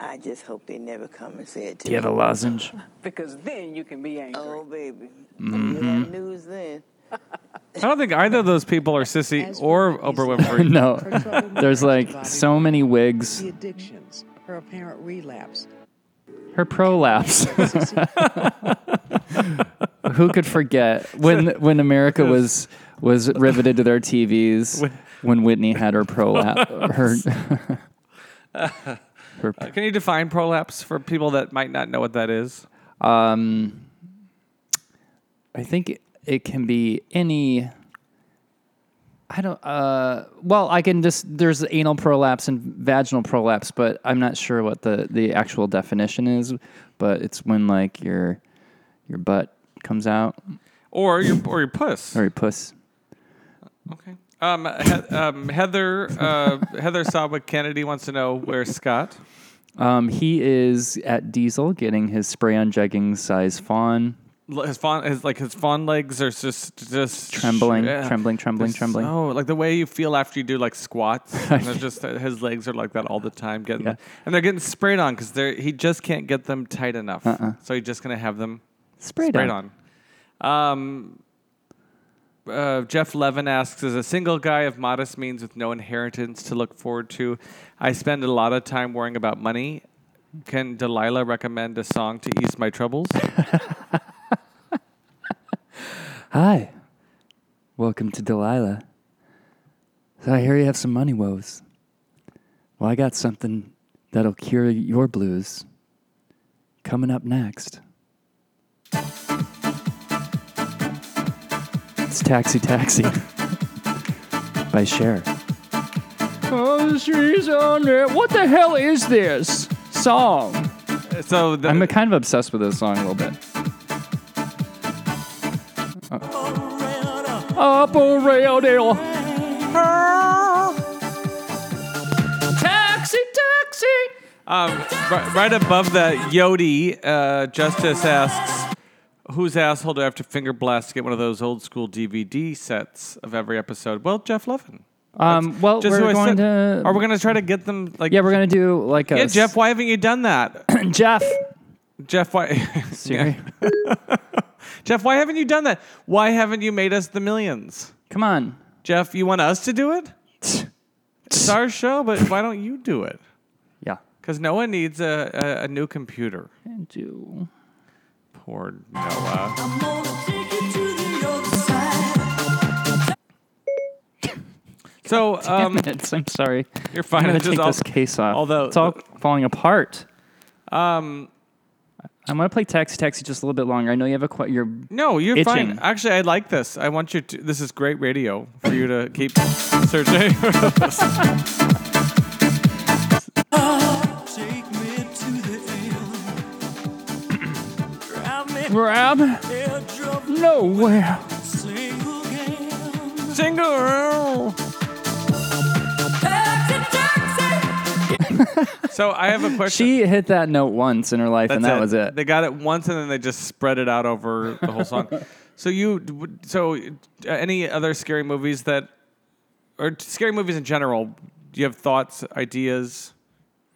Speaker 5: I just hope they never come and say it to
Speaker 1: Do you have
Speaker 5: me.
Speaker 1: a lozenge?
Speaker 6: because then you can be angry.
Speaker 5: Oh, baby. You
Speaker 1: Mm-hmm.
Speaker 5: have news then.
Speaker 3: I don't think either of those people are sissy or Oprah Winfrey.
Speaker 1: no.
Speaker 7: Her trouble
Speaker 1: There's like
Speaker 7: managing body
Speaker 1: so many wigs.
Speaker 7: The addictions, her apparent relapse.
Speaker 1: Her prolapse. Who could forget when when America was was riveted to their TVs when Whitney had her prolapse her
Speaker 3: Can you define prolapse for people that might not know what that is?
Speaker 1: um I think it- it can be any I don't uh well I can just there's anal prolapse and vaginal prolapse but I'm not sure what the the actual definition is but it's when like your your butt comes out
Speaker 3: Or your or your puss?
Speaker 1: or your puss
Speaker 3: Okay. Um, he, um, Heather uh, Heather Sawa Kennedy wants to know where's Scott.
Speaker 1: Um, he is at Diesel getting his spray on jeggings size fawn.
Speaker 3: L- His fawn, his like his fawn legs are just just
Speaker 1: Trembling,
Speaker 3: yeah.
Speaker 1: trembling, trembling, trembling.
Speaker 3: Oh, like the way you feel after you do like squats. and it's just uh, his legs are like that all the time, getting
Speaker 1: Yeah.
Speaker 3: and they're getting sprayed on because they're he just can't get them tight enough. So he's just gonna have them
Speaker 1: Uh-uh. Sprayed,
Speaker 3: sprayed
Speaker 1: on.
Speaker 3: on. Um, uh, Jeff Levin asks, as a single guy of modest means with no inheritance to look forward to, I spend a lot of time worrying about money. Can Delilah recommend a song to ease my troubles?
Speaker 1: Hi. Welcome to Delilah. So I hear you have some money woes. Well, I got something that'll cure your blues. Coming up next. It's Taxi Taxi by Cher. Oh, she's on it. What the hell is this song?
Speaker 3: So the,
Speaker 1: I'm kind of obsessed with this song a little bit. Up around hill. Ah. Taxi, taxi.
Speaker 3: um, right, right above that, Yodi uh, Justice asks, "Whose asshole do I have to finger blast to get one of those old school DVD sets of every episode?" Well, Jeff Levin.
Speaker 1: Um, well,
Speaker 3: Just who
Speaker 1: we're
Speaker 3: I
Speaker 1: going
Speaker 3: said.
Speaker 1: to.
Speaker 3: Are we going to try to get them? Like,
Speaker 1: yeah, we're going to do like a.
Speaker 3: Yeah, Jeff. Why haven't you done that,
Speaker 1: Jeff.
Speaker 3: Jeff? Why?
Speaker 1: Siri.
Speaker 3: Jeff, why haven't you done that? Why haven't you made us the millions?
Speaker 1: Come on.
Speaker 3: Jeff, you want us to do it? It's our show, but why don't you do it?
Speaker 1: Yeah.
Speaker 3: Because Noah needs a, a, a new computer.
Speaker 1: And do.
Speaker 3: Poor Noah. So um,
Speaker 1: Minutes, I'm sorry.
Speaker 3: you're
Speaker 1: I'm
Speaker 3: fine.
Speaker 1: going
Speaker 3: It's
Speaker 1: to
Speaker 3: just
Speaker 1: take
Speaker 3: all-
Speaker 1: this case off.
Speaker 3: although-
Speaker 1: it's all falling apart. Um, I'm going to play Taxi Taxi just a little bit longer. I know you have a que- you're
Speaker 3: No, you're fine.
Speaker 1: Itching.
Speaker 3: Actually, I like this. I want you to. This is great radio for you to keep searching.
Speaker 1: grab nowhere.
Speaker 3: Single. so I have a question.
Speaker 1: She hit that note once in her life, and that was it.
Speaker 3: They got it once, and then they just spread it out over the whole song. so you, so uh, any other scary movies that, or t- scary movies in general? Do you have thoughts, ideas?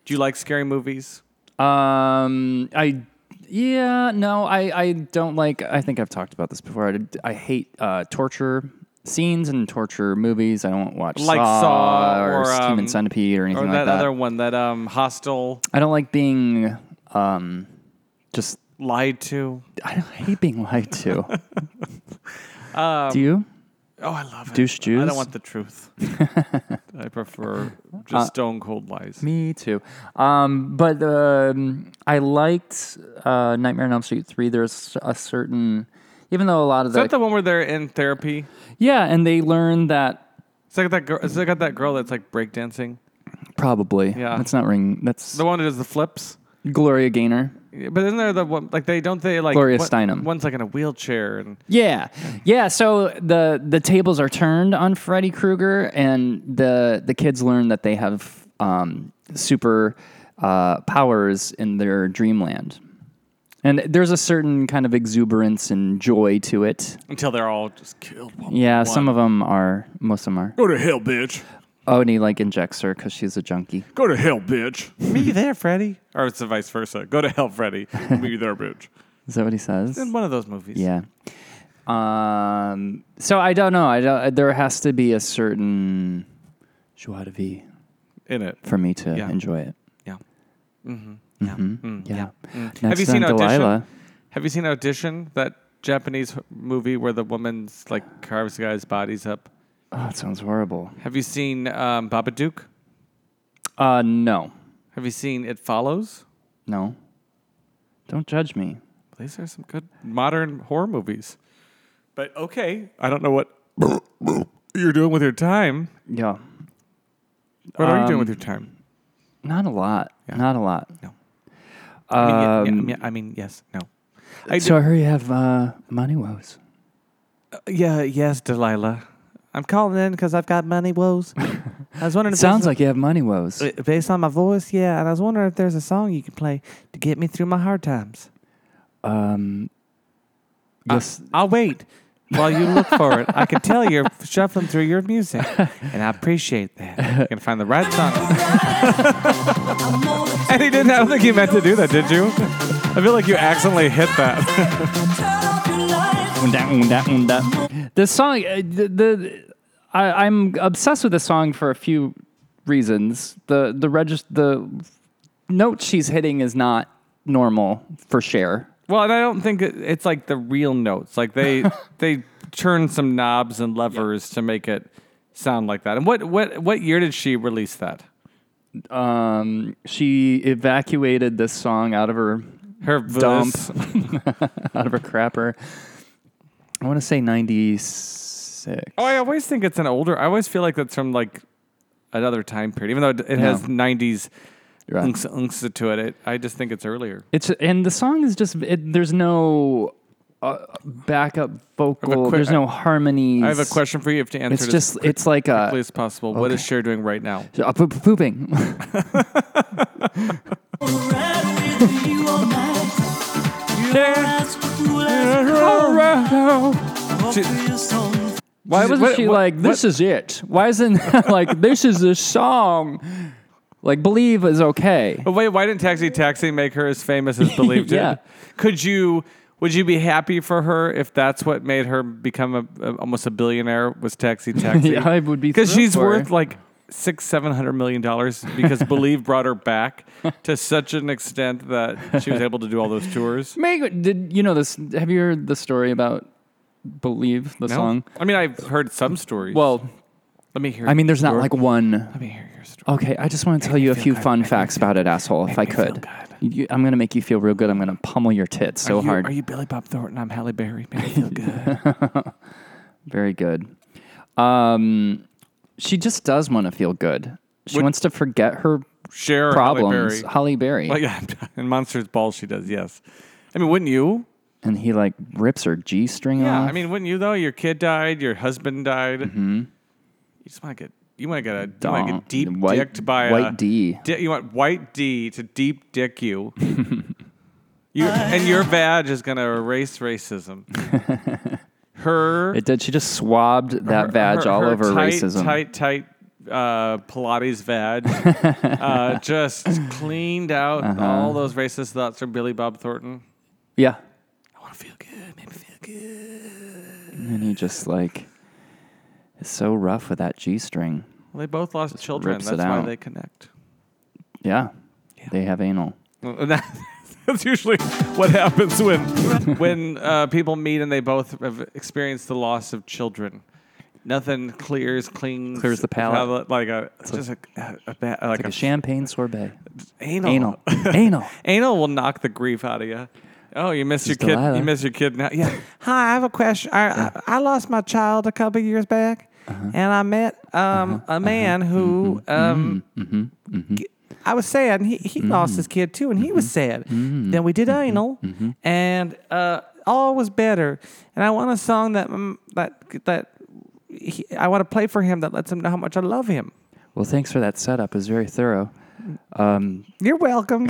Speaker 3: Do you like scary movies?
Speaker 1: Um, I yeah, no, I I don't like. I think I've talked about this before. I, I hate uh, torture scenes and torture movies. I don't watch
Speaker 3: Like
Speaker 1: Saw,
Speaker 3: Saw
Speaker 1: or,
Speaker 3: or,
Speaker 1: Human
Speaker 3: um,
Speaker 1: Centipede or
Speaker 3: Or
Speaker 1: anything
Speaker 3: that,
Speaker 1: like that.
Speaker 3: other one that um, hostile
Speaker 1: I don't like being um, just.
Speaker 3: lied to.
Speaker 1: I don't hate being lied to. Do you?
Speaker 3: Oh, I love it.
Speaker 1: Douche
Speaker 3: I
Speaker 1: Jews? Uh,
Speaker 3: don't want the truth. I prefer just stone cold lies.
Speaker 1: Me too. Um, but um, I liked uh, Nightmare on Elm Street three. There's a certain, even though a lot of
Speaker 3: Is that
Speaker 1: the
Speaker 3: the one where they're in therapy?
Speaker 1: yeah, and they learn that
Speaker 3: It's like that girl. It's like that girl that's like breakdancing.
Speaker 1: Probably.
Speaker 3: Yeah.
Speaker 1: That's not ring. That's
Speaker 3: The one who does the flips.
Speaker 1: Gloria Gaynor.
Speaker 3: Yeah, But isn't there the one like they don't they like
Speaker 1: Gloria
Speaker 3: one-
Speaker 1: Steinem.
Speaker 3: One's like in a wheelchair and
Speaker 1: Yeah. Yeah. So the the tables are turned on Freddy Krueger, and the the kids learn that they have um, super uh, powers in their dreamland. And there's a certain kind of exuberance and joy to it.
Speaker 3: until they're all just killed. One
Speaker 1: Yeah, some of them are. Most of them are.
Speaker 3: go to hell, bitch.
Speaker 1: Oh, and he like injects her because she's a junkie.
Speaker 3: Go to hell, bitch. Me there, Freddy. Or it's the vice versa. Go to hell, Freddy. Me there, bitch.
Speaker 1: Is that what he says?
Speaker 3: In one of those movies.
Speaker 1: Yeah. Um, so I don't know. I don't, uh, there has to be a certain joie de vivre
Speaker 3: In it.
Speaker 1: for me to
Speaker 3: Yeah.
Speaker 1: enjoy it. Mm-hmm.
Speaker 3: Yeah. Mm-hmm. Mm.
Speaker 1: Yeah. Next
Speaker 3: Have you seen
Speaker 1: on
Speaker 3: Audition?
Speaker 1: Delilah.
Speaker 3: Have you seen Audition? That Japanese h- movie where the woman's like carves guys' bodies up.
Speaker 1: Oh, it sounds horrible.
Speaker 3: Have you seen um, Babadook?
Speaker 1: Uh, no,
Speaker 3: Have you seen It Follows?
Speaker 1: no. Don't judge me.
Speaker 3: These are some good modern horror movies. But okay, I don't know what you're doing with your time.
Speaker 1: Yeah.
Speaker 3: What are you doing with your time?
Speaker 1: Not a lot.
Speaker 3: Yeah.
Speaker 1: Not a lot. Um,
Speaker 3: I mean, yeah, yeah, I mean, yes, no. I
Speaker 1: so I heard you have uh, money woes.
Speaker 3: d- Uh, yeah, yes, Delilah. I'm calling in because I've got money woes. I was wondering.
Speaker 1: It sounds like you have money woes.
Speaker 3: like uh, based on my voice, yeah. And I was wondering if there's a song you can play to get me through my hard times.
Speaker 1: Um,
Speaker 3: Uh,
Speaker 1: yes.
Speaker 3: I'll wait while you look for it. I can tell you're shuffling through your music, and I appreciate that. You can find the right song. and he didn't. I don't think you meant to do that, did you? I feel like you accidentally hit that.
Speaker 1: This song, uh, the, the I, I'm obsessed with this song for a few reasons. The the regis- the note she's hitting is not normal for Cher.
Speaker 3: Well, and I don't think it- it's like the real notes. Like they they turn some knobs and levers to make it sound like that. And what what what year did she release that?
Speaker 1: Um, she evacuated this song out of her
Speaker 3: Her
Speaker 1: dump,
Speaker 3: voice.
Speaker 1: out of her crapper. I want to say 96.
Speaker 3: Oh, I always think it's an older. I always feel like that's from like another time period, even though it, it has '90s
Speaker 1: Right.
Speaker 3: unks, unks to it, it. I just think it's earlier.
Speaker 1: It's and the song is just it, there's no uh, backup vocal.
Speaker 3: quick-
Speaker 1: there's no harmonies.
Speaker 3: I have a question for you. If to answer
Speaker 1: It's
Speaker 3: it
Speaker 1: just
Speaker 3: as quick-
Speaker 1: it's like a
Speaker 3: quickly as possible, what is Cher doing right now?
Speaker 1: uh, poop, pooping. Why wasn't she like this is it? Why isn't like this is a song? Like believe is okay.
Speaker 3: But wait, why didn't Taxi Taxi make her as famous as Believe did?
Speaker 1: Yeah.
Speaker 3: Could you? Would you be happy for her if that's what made her become a, a- almost a billionaire? Was Taxi Taxi?
Speaker 1: Yeah, I would be
Speaker 3: because
Speaker 1: thrilled
Speaker 3: she's
Speaker 1: for
Speaker 3: worth
Speaker 1: her.
Speaker 3: like six, seven hundred million dollars. Because Believe brought her back to such an extent that she was able to do all those tours.
Speaker 1: Meg, did you know this? Have you heard the story about believe the
Speaker 3: No?
Speaker 1: song?
Speaker 3: I mean, I've heard some stories.
Speaker 1: Well,
Speaker 3: let me hear.
Speaker 1: I mean, there's not
Speaker 3: your-
Speaker 1: like one
Speaker 3: Let me hear your story.
Speaker 1: Okay, I just want to tell you a few fun facts about it, asshole. If I
Speaker 3: me feel
Speaker 1: could,
Speaker 3: good.
Speaker 1: You- I'm gonna make you feel real good. I'm gonna pummel your tits so
Speaker 3: are you,
Speaker 1: hard.
Speaker 3: Are you Billy Bob Thornton? I'm Halle Berry. Make me feel good.
Speaker 1: Very good. Um, she just does want to feel good. She
Speaker 3: Would-
Speaker 1: wants to forget her
Speaker 3: Share
Speaker 1: problems.
Speaker 3: Halle Berry.
Speaker 1: Holly Berry,
Speaker 3: Well, yeah, in Monsters Ball she does. Yes, I mean, wouldn't you?
Speaker 1: and he like rips her g string
Speaker 3: Yeah,
Speaker 1: off.
Speaker 3: I mean, wouldn't you though? Your kid died. Your husband died.
Speaker 1: Mm-hmm.
Speaker 3: You just want to get. You want to get a. You want to
Speaker 1: Dong.
Speaker 3: get deep
Speaker 1: White-
Speaker 3: dicked by a
Speaker 1: white D.
Speaker 3: di- you want white D to deep dick you. you and your badge is gonna erase racism. Her
Speaker 1: it did. She just swabbed that
Speaker 3: her-
Speaker 1: vag
Speaker 3: her-
Speaker 1: all
Speaker 3: her
Speaker 1: over
Speaker 3: tight,
Speaker 1: racism.
Speaker 3: Tight, tight uh, Pilates vag. uh, just cleaned out
Speaker 1: Uh-huh.
Speaker 3: all those racist thoughts from Billy Bob Thornton.
Speaker 1: Yeah,
Speaker 3: I want to feel good. Make me feel good.
Speaker 1: and he just like is so rough with that g string.
Speaker 3: Well, they both lost children.
Speaker 1: rips
Speaker 3: That's
Speaker 1: it
Speaker 3: why
Speaker 1: out.
Speaker 3: they connect.
Speaker 1: Yeah, they have anal.
Speaker 3: Uh, that- That's usually what happens when when uh, people meet and they both have experienced the loss of children. Nothing clears, cleans,
Speaker 1: Clears the palate.
Speaker 3: like a just a, a, a ba- like,
Speaker 1: Like
Speaker 3: a,
Speaker 1: a champagne sorbet.
Speaker 3: anal.
Speaker 1: Anal. anal.
Speaker 3: Anal will knock the grief out of you. Oh, you miss your
Speaker 1: Just
Speaker 3: kid.
Speaker 1: Delilah.
Speaker 3: You miss your kid now. Yeah. Hi, I have a question. I I, I lost my child a couple years back, and I met um a man who um. g- I was sad, and he, he lost his kid too, and he was sad. Then we did anal, and uh, all was better. And I want a song that mm, that that he, I want to play for him that lets him know how much I love him.
Speaker 1: Well, thanks for that setup. It was very thorough. Um,
Speaker 3: You're welcome.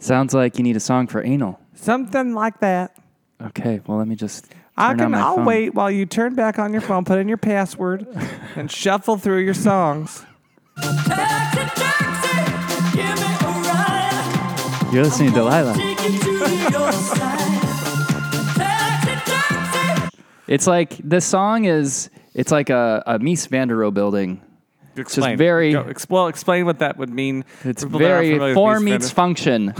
Speaker 1: sounds like you need a song for anal.
Speaker 3: Something like that.
Speaker 1: Okay, well, let me just. Turn
Speaker 3: I
Speaker 1: on
Speaker 3: can.
Speaker 1: my
Speaker 3: I'll
Speaker 1: phone.
Speaker 3: wait while you turn back on your phone, put in your password, and shuffle through your songs.
Speaker 1: You're listening to Delilah. It's like the song is. It's like a, a Mies van der Rohe building.
Speaker 3: Explain.
Speaker 1: very-
Speaker 3: Go, ex- well, explain what that would mean.
Speaker 1: It's
Speaker 3: for people that aren't
Speaker 1: very
Speaker 3: familiar with
Speaker 1: form
Speaker 3: Mies
Speaker 1: meets
Speaker 3: Van
Speaker 1: function.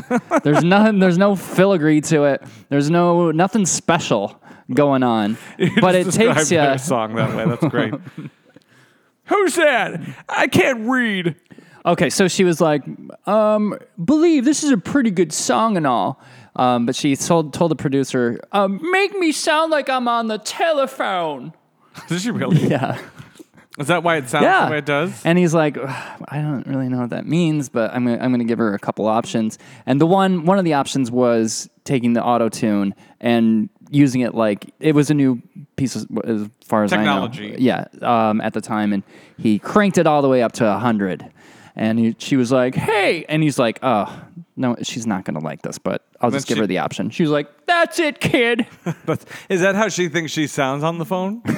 Speaker 1: There's nothing. There's no filigree to it. There's no nothing special going on.
Speaker 3: der-
Speaker 1: but it
Speaker 3: Just describe
Speaker 1: takes
Speaker 3: their
Speaker 1: you.
Speaker 3: song that way. That's great. Who's that? I can't read.
Speaker 1: Okay, so she was like, um, "Believe this is a pretty good song and all," um, but she told told the producer, um, "Make me sound like I'm on the telephone."
Speaker 3: Does she really?
Speaker 1: Yeah.
Speaker 3: Is that why it sounds
Speaker 1: Yeah.
Speaker 3: the way it does?
Speaker 1: And he's like, "Ugh, I don't really know what that means, but I'm gonna, I'm gonna give her a couple options. And the one one of the options was taking the auto tune and using it like it was a new piece of, as far as I
Speaker 3: Technology.
Speaker 1: know, yeah, um, at the time. And he cranked it all the way up to hundred. And he, she was like, "Hey," and he's like, "Oh, no, she's not gonna like this, but I'll just give
Speaker 3: she-
Speaker 1: her the option." She was like, "That's it, kid."
Speaker 3: That's, is that how she thinks she sounds on the phone?
Speaker 1: I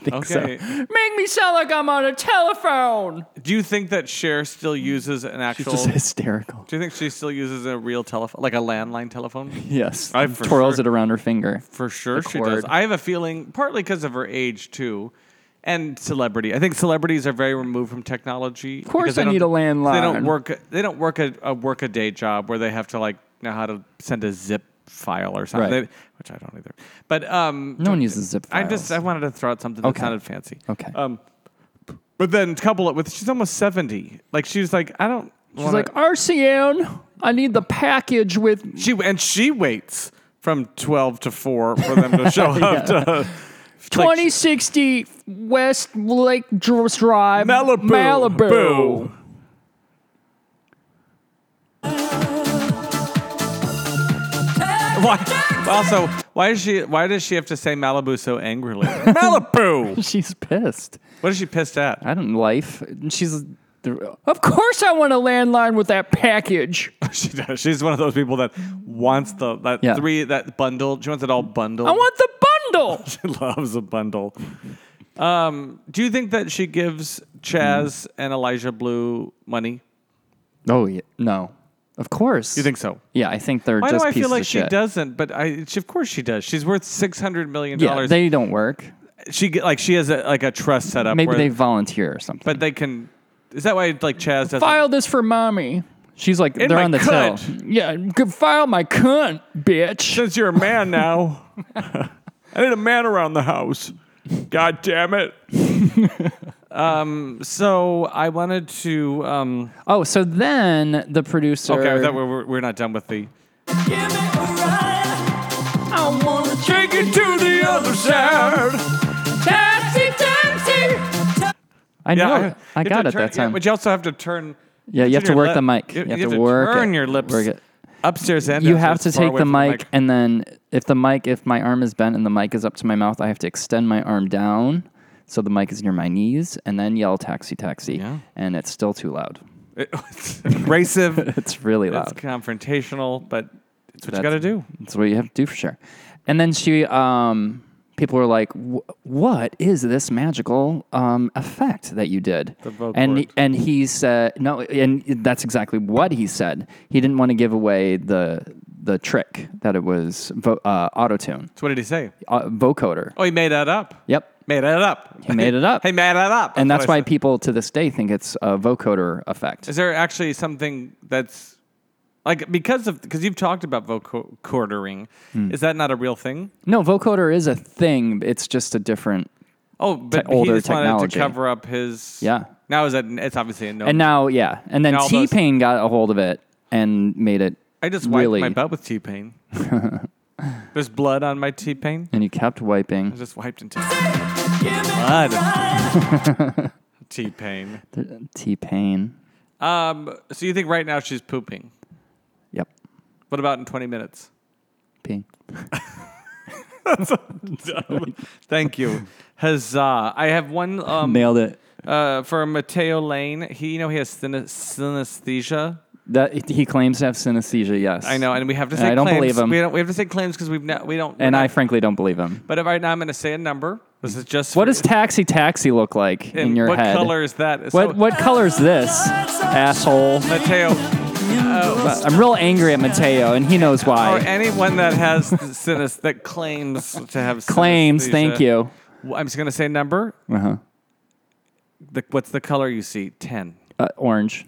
Speaker 1: think so.
Speaker 3: Okay.
Speaker 1: Make me sound like I'm on a telephone.
Speaker 3: Do you think that Cher still uses an
Speaker 1: She's
Speaker 3: actual?
Speaker 1: just hysterical.
Speaker 3: do you think she still uses a real telephone, like a landline telephone?
Speaker 1: Yes.
Speaker 3: I
Speaker 1: and
Speaker 3: for
Speaker 1: twirls
Speaker 3: sure-
Speaker 1: it around her finger.
Speaker 3: For sure, she
Speaker 1: cord.
Speaker 3: does. I have a feeling, partly because of her age too, and celebrity. I think celebrities are very removed from technology. Of
Speaker 1: course they need a
Speaker 3: They don't
Speaker 1: landline.
Speaker 3: work. They don't work a, a work a day job where they have to like know how to send a zip file or something,
Speaker 1: Right.
Speaker 3: They- which I don't either. But um,
Speaker 1: No one uses zip
Speaker 3: I
Speaker 1: files.
Speaker 3: just I wanted to throw out something that
Speaker 1: Okay.
Speaker 3: sounded fancy.
Speaker 1: Okay.
Speaker 3: Um, but then couple it with she's almost seventy. Like she's like I don't.
Speaker 1: She's like, RCN, I need the package with.
Speaker 3: she and she waits. for from 12 to 4 for them to show up to
Speaker 1: 2060 West Lake Dr- Drive,
Speaker 3: Malibu.
Speaker 1: Malibu.
Speaker 3: Boo. Why, also, why is she? Why does she have to say Malibu so angrily? Malibu.
Speaker 1: She's pissed.
Speaker 3: What is she pissed at?
Speaker 1: I don't life. And She's oh, of course I want a landline with that package.
Speaker 3: She does. She's one of those people that wants the that
Speaker 1: Yeah.
Speaker 3: three that bundle. She wants it all bundled.
Speaker 1: I want the bundle.
Speaker 3: she loves a bundle. Um, do you think that she gives
Speaker 1: Mm.
Speaker 3: Chaz and Elijah Blue money?
Speaker 1: Oh yeah, no. Of course.
Speaker 3: You think so?
Speaker 1: Yeah, I think they're
Speaker 3: Why
Speaker 1: just
Speaker 3: do I
Speaker 1: pieces
Speaker 3: feel like
Speaker 1: of
Speaker 3: she
Speaker 1: shit.
Speaker 3: doesn't? But I, she, of course, she does. She's worth six hundred million
Speaker 1: yeah,
Speaker 3: dollars.
Speaker 1: they don't work.
Speaker 3: she get- like she has a, like a trust set up.
Speaker 1: Maybe
Speaker 3: where,
Speaker 1: they volunteer or something.
Speaker 3: but they can. Is that why like Chaz doesn't?
Speaker 1: file this for mommy. She's like, they're
Speaker 3: my
Speaker 1: on the
Speaker 3: cunt.
Speaker 1: till. Yeah, g- file my cunt, bitch.
Speaker 3: Since you're a man now, I need a man around the house. God damn it. um. So I wanted to. Um.
Speaker 1: Oh, so then the producer.
Speaker 3: Okay. I thought we we're, we're not done with the.
Speaker 1: I wanna take it to the other side. Taxi, taxi. I know. it. I,
Speaker 3: you have
Speaker 1: got
Speaker 3: to
Speaker 1: it
Speaker 3: turn-
Speaker 1: that
Speaker 3: yeah,
Speaker 1: time.
Speaker 3: but you also have to turn.
Speaker 1: Yeah, you have to
Speaker 3: your
Speaker 1: work
Speaker 3: lip-
Speaker 1: the mic.
Speaker 3: You,
Speaker 1: You have
Speaker 3: you
Speaker 1: to work
Speaker 3: turn
Speaker 1: it,
Speaker 3: your lips
Speaker 1: work it.
Speaker 3: upstairs and
Speaker 1: you
Speaker 3: downstairs,
Speaker 1: have to
Speaker 3: far
Speaker 1: take
Speaker 3: away
Speaker 1: the
Speaker 3: from
Speaker 1: mic, and then if the mic, if my arm is bent and the mic is up to my mouth, I have to extend my arm down so the mic is near my knees, and then yell "taxi, taxi,"
Speaker 3: Yeah.
Speaker 1: and it's still too loud.
Speaker 3: It's abrasive.
Speaker 1: It's really
Speaker 3: it's
Speaker 1: loud.
Speaker 3: confrontational, but it's what you got to
Speaker 1: That's-
Speaker 3: do.
Speaker 1: That's what you have to do for sure. And then she, um, people were like, "Wh- "What is this magical um, effect that you did?"
Speaker 3: The vocal
Speaker 1: and
Speaker 3: effect.
Speaker 1: and he said, "No," and that's exactly what he said. He didn't want to give away the the trick that it was vo- uh, auto tune,
Speaker 3: So what did he say?
Speaker 1: uh, vocoder.
Speaker 3: Oh, he made that up.
Speaker 1: Yep,
Speaker 3: Made that up.
Speaker 1: He made it up.
Speaker 3: he made that up.
Speaker 1: and that's
Speaker 3: what I
Speaker 1: why
Speaker 3: said.
Speaker 1: people to this day think it's uh, a vocoder effect.
Speaker 3: Is there actually something that's like because of because you've talked about vocodering?
Speaker 1: Hmm.
Speaker 3: Is that not a real thing?
Speaker 1: No, vocoder is a thing. It's just a different
Speaker 3: Oh, but
Speaker 1: older
Speaker 3: he just wanted
Speaker 1: technology.
Speaker 3: to cover up his.
Speaker 1: Yeah.
Speaker 3: Now is that it's obviously a no.
Speaker 1: And now, yeah. And then
Speaker 3: And all
Speaker 1: T
Speaker 3: those-
Speaker 1: Pain got a hold of it and made it.
Speaker 3: I just wiped
Speaker 1: really,
Speaker 3: my butt with T pain. There's blood on my T pain.
Speaker 1: and you kept
Speaker 3: I
Speaker 1: wiping.
Speaker 3: just wiped into blood. T pain.
Speaker 1: T Pain.
Speaker 3: Um. So you think right now she's pooping?
Speaker 1: Yep.
Speaker 3: What about in 20 minutes?
Speaker 1: Ping.
Speaker 3: Thank you. Huzzah! I have one. Um,
Speaker 1: Nailed it.
Speaker 3: uh, for Mateo Lane, he you know he has syne- synesthesia.
Speaker 1: That he claims to have synesthesia. Yes,
Speaker 3: I know, and we have to
Speaker 1: And
Speaker 3: say
Speaker 1: I don't
Speaker 3: claims.
Speaker 1: believe him.
Speaker 3: We, don't, we have to say claims because we've not, we don't.
Speaker 1: and
Speaker 3: we're
Speaker 1: I
Speaker 3: not-
Speaker 1: frankly don't believe him.
Speaker 3: But right now, I'm going to say a number. This is just
Speaker 1: What
Speaker 3: for-
Speaker 1: does taxi taxi look like
Speaker 3: and
Speaker 1: in your
Speaker 3: what
Speaker 1: head?
Speaker 3: color is that? So,
Speaker 1: What what color is this, asshole?
Speaker 3: Mateo
Speaker 1: I'm real angry at Mateo, and he knows why.
Speaker 3: or anyone that has sinus that claims to have
Speaker 1: Claims.
Speaker 3: synesthesia.
Speaker 1: Thank you.
Speaker 3: Well, I'm just going to say a number.
Speaker 1: Uh huh.
Speaker 3: The, what's the color you see? Ten.
Speaker 1: Uh, orange.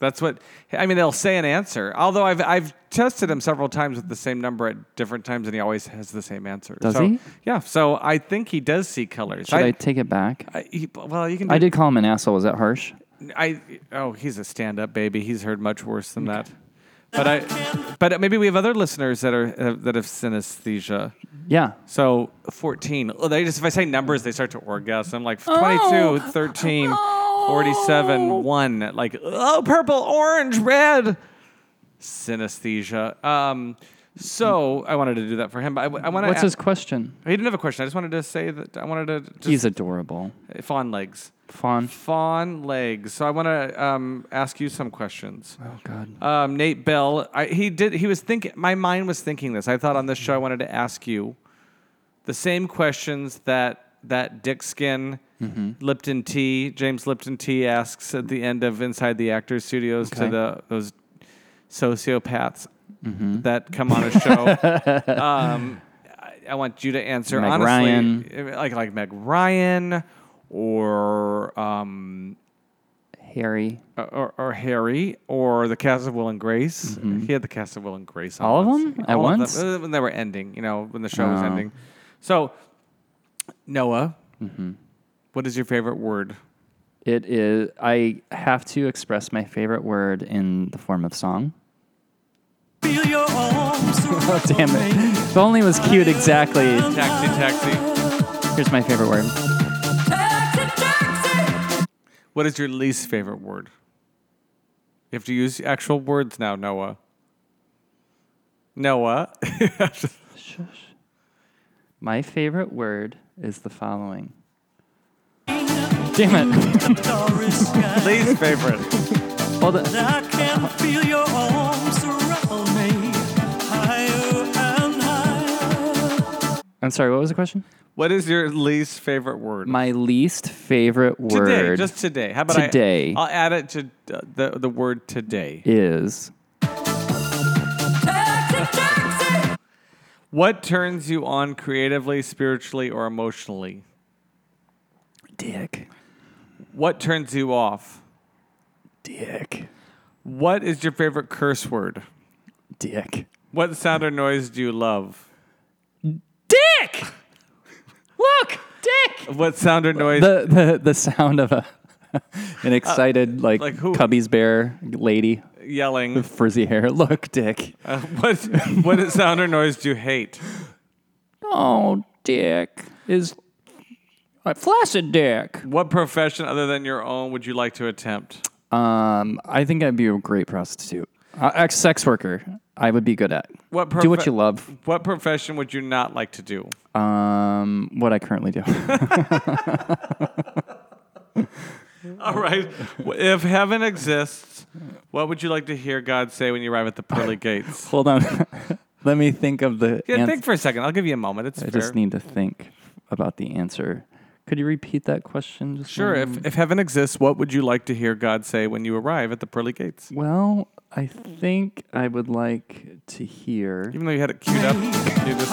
Speaker 3: That's what I mean. They'll say an answer, although I've I've tested him several times with the same number at different times, and he always has the same answer.
Speaker 1: Does
Speaker 3: so,
Speaker 1: he?
Speaker 3: Yeah. So I think he does see colors.
Speaker 1: Should I, take it back?
Speaker 3: I- he- well, you can. Do,
Speaker 1: I did call him an asshole. Was that harsh?
Speaker 3: I oh, he's a stand-up baby. He's heard much worse than that. But I, but maybe we have other listeners that are have, that have synesthesia.
Speaker 1: Yeah.
Speaker 3: So fourteen. Oh, they just if I say numbers, they start to orgasm. Like 22, 13, 47, one. Like oh, purple, orange, red. Synesthesia. Um. So I wanted to do that for him. But I, want to.
Speaker 1: What's his question?
Speaker 3: He didn't have a question. I just wanted to say that I wanted to. Just,
Speaker 1: He's adorable.
Speaker 3: fawn legs.
Speaker 1: Fawn.
Speaker 3: Fawn legs. So I want to um, ask you some questions.
Speaker 1: Oh God.
Speaker 3: Um, Nate Bell, I, he did. He was thinking. My mind was thinking this. I thought on this show I wanted to ask you the same questions that that Dick Skin,
Speaker 1: Mm-hmm.
Speaker 3: Lipton T, James Lipton T asks at the end of Inside the Actors Studios to
Speaker 1: Okay.
Speaker 3: the those sociopaths
Speaker 1: Mm-hmm.
Speaker 3: that come on a show. um, I, I want you to answer
Speaker 1: Meg
Speaker 3: honestly,
Speaker 1: Ryan.
Speaker 3: like like Meg Ryan or um,
Speaker 1: Harry.
Speaker 3: or, or Harry or the cast of Will and Grace. He had the cast of Will and Grace.
Speaker 1: Mm-hmm.
Speaker 3: on
Speaker 1: All of
Speaker 3: once.
Speaker 1: them? At
Speaker 3: All of them.
Speaker 1: once?
Speaker 3: Uh, when they were ending, you know, when the show was
Speaker 1: Oh.
Speaker 3: ending. So, Noah,
Speaker 1: Mm-hmm.
Speaker 3: what is your favorite word?
Speaker 1: It is. I have to express my favorite word in the form of song.
Speaker 4: Feel your arms
Speaker 1: Oh, damn it. If only it was cute exactly.
Speaker 3: Taxi, taxi.
Speaker 1: Here's my favorite word.
Speaker 3: What is your least favorite word? You have to use actual words now, Noah. Noah.
Speaker 1: My favorite word is the following. Damn it.
Speaker 3: least favorite.
Speaker 1: Hold on.
Speaker 4: I can feel your arms around me, higher and higher.
Speaker 1: I'm sorry, what was the question?
Speaker 3: What is your least favorite word?
Speaker 1: My least favorite word
Speaker 3: Today, just today. How about I-
Speaker 1: Today.
Speaker 3: I'll add it to uh, the the word today.
Speaker 1: is
Speaker 3: What turns you on creatively, spiritually, or emotionally?
Speaker 1: dick.
Speaker 3: What turns you off?
Speaker 1: Dick.
Speaker 3: What is your favorite curse word?
Speaker 1: Dick.
Speaker 3: What sound or noise do you love?
Speaker 1: Dick! Look! Dick!
Speaker 3: What sound or noise?
Speaker 1: The, the, the sound of a an excited like,
Speaker 3: Uh, like who?
Speaker 1: Cubby's bear lady
Speaker 3: yelling.
Speaker 1: with frizzy hair. Look, Dick.
Speaker 3: Uh, what what sound or noise do you hate?
Speaker 1: Oh, Dick is a flaccid Dick.
Speaker 3: What profession other than your own would you like to attempt?
Speaker 1: Um, I think I'd be a great prostitute, uh, ex sex worker. I would be good at.
Speaker 3: What
Speaker 1: do what
Speaker 3: profe-
Speaker 1: you love.
Speaker 3: What profession would you not like to do?
Speaker 1: Um, what I currently do.
Speaker 3: All right. If heaven exists, what would you like to hear God say when you arrive at the pearly gates?
Speaker 1: Hold on. Let me think of the.
Speaker 3: Yeah,
Speaker 1: ans-
Speaker 3: think for a second. I'll give you a moment. It's
Speaker 1: I
Speaker 3: fair.
Speaker 1: just need to think about the answer. Could you repeat that question? Just
Speaker 3: Sure.
Speaker 1: one
Speaker 3: If, if heaven exists, what would you like to hear God say when you arrive at the pearly gates?
Speaker 1: Well, I think I would like to hear.
Speaker 3: Even though you had it queued up, you just-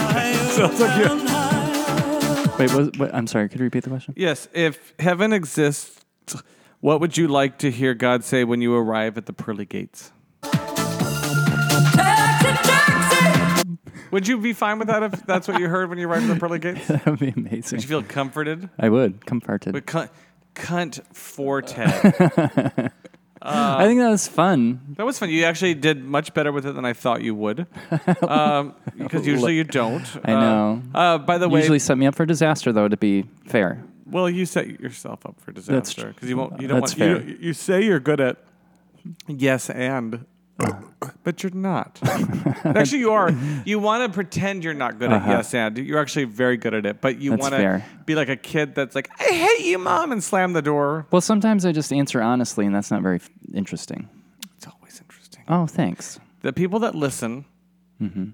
Speaker 3: sounds like you-
Speaker 1: Wait, was, wait, I'm sorry. Could you repeat the question?
Speaker 3: Yes. If heaven exists, what would you like to hear God say when you arrive at the pearly gates? Would you be fine with that if that's what you heard when you arrived at the pearly gates? Did
Speaker 1: That would be amazing.
Speaker 3: you feel comforted?
Speaker 1: I would. Comforted.
Speaker 3: But cunt, cunt forte.
Speaker 1: I think that was fun.
Speaker 3: That was fun. You actually did much better with it than I thought you would, um, because usually you don't.
Speaker 1: I know.
Speaker 3: Uh, uh, by the way,
Speaker 1: Usually set me up for disaster, though, to be fair.
Speaker 3: Well, you set yourself up for
Speaker 1: That's
Speaker 3: disaster
Speaker 1: tr-
Speaker 3: because you won't. You don't
Speaker 1: that's fair.
Speaker 3: want. You, you say you're good at yes and, but you're not. actually, you are. You want to pretend you're not good at yes and. You're actually very good at it, but you
Speaker 1: Uh-huh. That's
Speaker 3: want to
Speaker 1: fair.
Speaker 3: be like a kid that's like, "I hate you, mom," and slam the door.
Speaker 1: Well, sometimes I just answer honestly, and that's not very f- interesting.
Speaker 3: It's always interesting.
Speaker 1: Oh, thanks.
Speaker 3: The people that listen.
Speaker 1: Mm-hmm.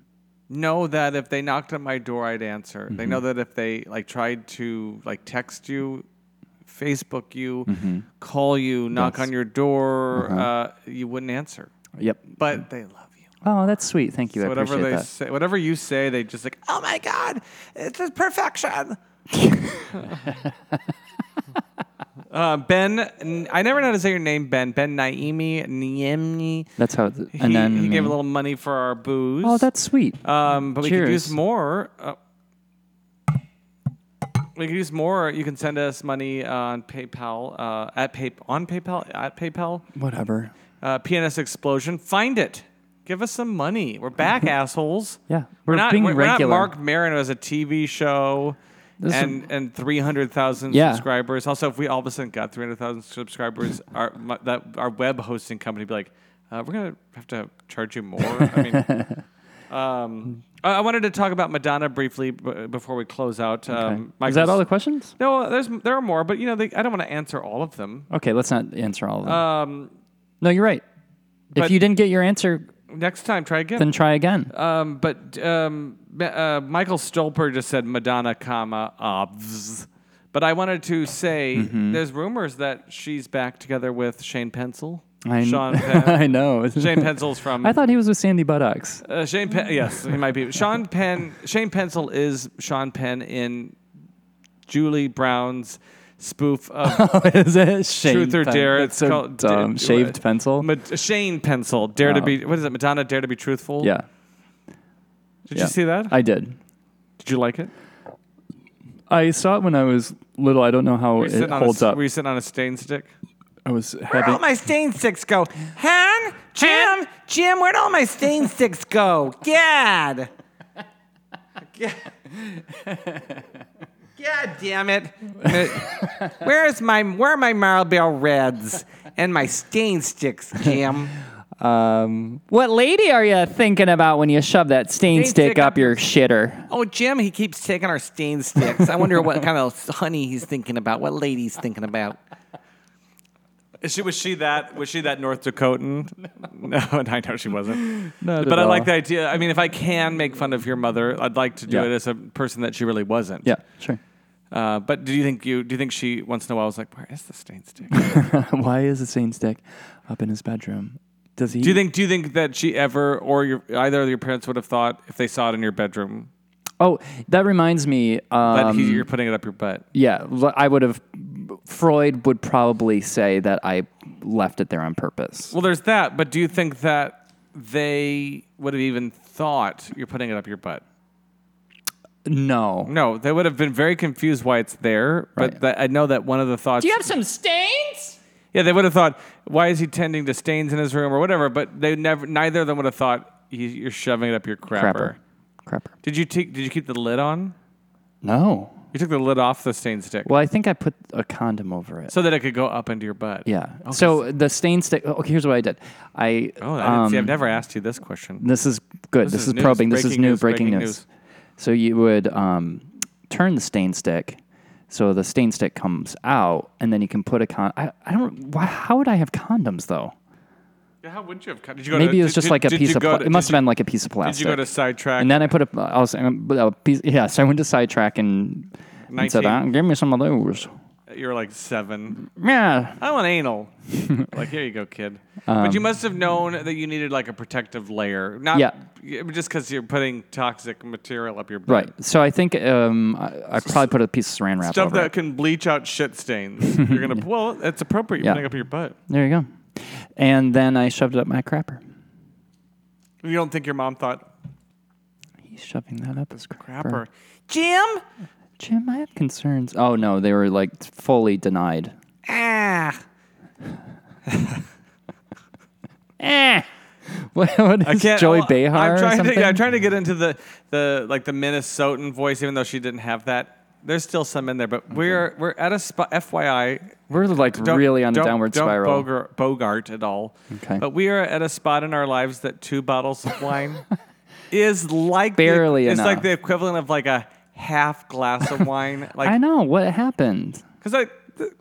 Speaker 3: Know that if they knocked on my door, I'd answer. They
Speaker 1: Mm-hmm.
Speaker 3: know that if they like tried to like text you, Facebook you,
Speaker 1: Mm-hmm.
Speaker 3: call you, knock on your door, uh, you wouldn't answer.
Speaker 1: Yep.
Speaker 3: But they love you.
Speaker 1: Oh, that's sweet. Thank you. I
Speaker 3: whatever
Speaker 1: appreciate
Speaker 3: they
Speaker 1: that.
Speaker 3: say, whatever you say, they just like, oh my god, it's is perfection. uh, ben, N- I never know how to say your name, Ben. Ben Naimi Niemni.
Speaker 1: That's how. It, and
Speaker 3: He,
Speaker 1: then
Speaker 3: he gave
Speaker 1: me.
Speaker 3: a little money for our booze.
Speaker 1: Oh, that's sweet.
Speaker 3: Um, but we could use
Speaker 1: Cheers.
Speaker 3: more. Uh, we could use more. You can send us money on PayPal uh, at pay on PayPal at PayPal.
Speaker 1: Whatever.
Speaker 3: Uh, PNS Explosion. Find it. Give us some money. We're back, assholes.
Speaker 1: Yeah,
Speaker 3: we're,
Speaker 1: we're
Speaker 3: not.
Speaker 1: being
Speaker 3: we're, we're not
Speaker 1: regular.
Speaker 3: Mark Maron who has a TV show.
Speaker 1: This is-
Speaker 3: and and three hundred thousand
Speaker 1: Yeah.
Speaker 3: subscribers. Also, if we all of a sudden got three hundred thousand subscribers, our my, that our web hosting company would be like, uh, we're gonna have to charge you more. I mean, um, I I wanted to talk about Madonna briefly b- before we close out.
Speaker 1: Is
Speaker 3: Um,
Speaker 1: that
Speaker 3: Michael's-
Speaker 1: all the questions?
Speaker 3: No, there's there are more, but you know, they, I don't want to answer all of them.
Speaker 1: Okay, let's not answer all of them.
Speaker 3: Um,
Speaker 1: no, you're right. If
Speaker 3: but-
Speaker 1: you didn't get your answer,
Speaker 3: next time, try again.
Speaker 1: then try again.
Speaker 3: Um, but um, Ma- uh, Michael Stolper just said Madonna, comma obvs. But I wanted to say
Speaker 1: Mm-hmm.
Speaker 3: there's rumors that she's back together with Shane Pencil.
Speaker 1: I, kn-
Speaker 3: Sean Penn.
Speaker 1: I know.
Speaker 3: Shane Pencil's from.
Speaker 1: I thought he was with Sandy Buttocks.
Speaker 3: uh, Shane Penn. Yes, he might be. Sean Penn. Shane Pencil is Sean Penn in Julie Brown's spoof of
Speaker 1: Oh, Is it Shane
Speaker 3: Truth or
Speaker 1: Pen-
Speaker 3: Dare.
Speaker 1: That's so
Speaker 3: called-
Speaker 1: dumb.
Speaker 3: d-
Speaker 1: Shaved
Speaker 3: uh,
Speaker 1: pencil.
Speaker 3: Ma- Shane Pencil. Dare to
Speaker 1: Oh.
Speaker 3: be. What is it? Madonna. Dare to be truthful.
Speaker 1: yeah.
Speaker 3: Did
Speaker 1: yeah.
Speaker 3: you see that?
Speaker 1: I did.
Speaker 3: Did you like it?
Speaker 1: I saw it when I was little. I don't know how
Speaker 3: Were you
Speaker 1: it
Speaker 3: sitting on a
Speaker 1: holds
Speaker 3: s-
Speaker 1: up.
Speaker 3: Were you sitting on a stain stick?
Speaker 1: I was having.
Speaker 3: stain sticks go? Han,
Speaker 8: Jim, Jim, where'd all my stain sticks go? Gad. God damn it. Where's my where are my Marlboro Reds and my stain sticks, Jim?
Speaker 9: Um, what lady are you thinking about when you shove that stain,
Speaker 8: Stain
Speaker 9: stick
Speaker 8: stick
Speaker 9: up
Speaker 8: up
Speaker 9: your shitter?
Speaker 8: Oh, Jim, he keeps taking our stain sticks. I wonder what kind of honey he's thinking about, what lady he's thinking about.
Speaker 3: Is she was she that was she that North Dakotan? No, I know she wasn't.
Speaker 9: Not
Speaker 3: but
Speaker 9: at
Speaker 3: I like
Speaker 9: all.
Speaker 3: the idea. I mean, if I can make fun of your mother, I'd like to do
Speaker 9: Yeah.
Speaker 3: it as a person that she really wasn't.
Speaker 9: Yeah, sure.
Speaker 3: Uh, but do you think you do you think she once in a while was like, where is the stain stick?
Speaker 9: Why is the stain stick up in his bedroom? Does he?
Speaker 3: do you think do you think that she ever or your either of your parents would have thought if they saw it in your bedroom
Speaker 9: Oh, that reminds me.
Speaker 3: that
Speaker 9: Um,
Speaker 3: he, you're putting it up your butt?
Speaker 9: yeah, l- I would have. Freud would probably say that I left it there on purpose.
Speaker 3: Well, there's that. But do you think that they would have even thought you're putting it up your butt?
Speaker 9: No.
Speaker 3: No, they would have been very confused why it's there.
Speaker 9: Right.
Speaker 3: But that, I know that one of the thoughts.
Speaker 9: some stains?
Speaker 3: Yeah, they would have thought, why is he tending to stains in his room or whatever? But they never. Neither of them would have thought "You- you're shoving it up your crapper.
Speaker 9: Crapper. Crapper.
Speaker 3: Did you take? Did you keep the lid on?
Speaker 9: No.
Speaker 3: You took the lid off the stain stick
Speaker 9: Well, I think I put a condom over it.
Speaker 3: so that it could go up into your butt.
Speaker 9: yeah. So the stain stick. Okay, here's what I did.
Speaker 3: Oh,
Speaker 9: I.
Speaker 3: I didn't see, I've
Speaker 9: um,
Speaker 3: never asked you this question.
Speaker 9: This is good. This,
Speaker 3: This
Speaker 9: is,
Speaker 3: is news,
Speaker 9: probing. This is
Speaker 3: breaking
Speaker 9: new
Speaker 3: news,
Speaker 9: breaking,
Speaker 3: breaking
Speaker 9: news.
Speaker 3: news.
Speaker 9: So you would um, turn the stain stick, so the stain stick comes out, and then you can put a con. I, I don't. Why, how would I have condoms though?
Speaker 3: Yeah, how would you have? cut- Did you go
Speaker 9: Maybe
Speaker 3: to,
Speaker 9: it was just like a piece of. Pla- it must have been like a piece of
Speaker 3: Did
Speaker 9: plastic.
Speaker 3: you go to sidetrack?
Speaker 9: and then I put a. I was, um, a piece, yeah, so I went to sidetrack and, and said,
Speaker 3: 19.
Speaker 9: ah, "Give me some of those."
Speaker 3: you were like seven.
Speaker 9: Yeah,
Speaker 3: I want anal. like here you go, kid. but you must have known that you needed like a protective layer, not
Speaker 9: Um, Yeah.
Speaker 3: yeah, but just because you're putting toxic material up your butt.
Speaker 9: right. So I think um, I, I probably put a piece of saran wrap
Speaker 3: Stuff
Speaker 9: over
Speaker 3: that
Speaker 9: it.
Speaker 3: can bleach out shit stains. You're gonna well, that's appropriate. You're
Speaker 9: Yeah.
Speaker 3: putting it up your butt.
Speaker 9: There you go. And then I shoved it up my crapper.
Speaker 3: You don't think your mom thought
Speaker 9: He's shoving that up his crapper.
Speaker 3: crapper, Jim?
Speaker 9: Jim, I have concerns. Oh no, they were like fully denied.
Speaker 3: Ah,
Speaker 9: Eh. What, what is
Speaker 3: I can't.
Speaker 9: Joy
Speaker 3: well,
Speaker 9: Behar
Speaker 3: I'm
Speaker 9: or
Speaker 3: trying
Speaker 9: something?
Speaker 3: to. Yeah, I'm trying to get into the the like the Minnesotan voice, even though she didn't have that. There's still some in there, but we're we're at a spot. FYI,
Speaker 9: we're like
Speaker 3: Don't-
Speaker 9: really on a
Speaker 3: don't-
Speaker 9: downward
Speaker 3: don't
Speaker 9: spiral.
Speaker 3: bogar- bogart at all.
Speaker 9: Okay.
Speaker 3: But we are at a spot in our lives that two bottles of wine is like the-
Speaker 9: Barely
Speaker 3: It's like
Speaker 9: enough.
Speaker 3: the equivalent of like a half glass of wine. Like
Speaker 9: I know what happened.
Speaker 3: because I, th-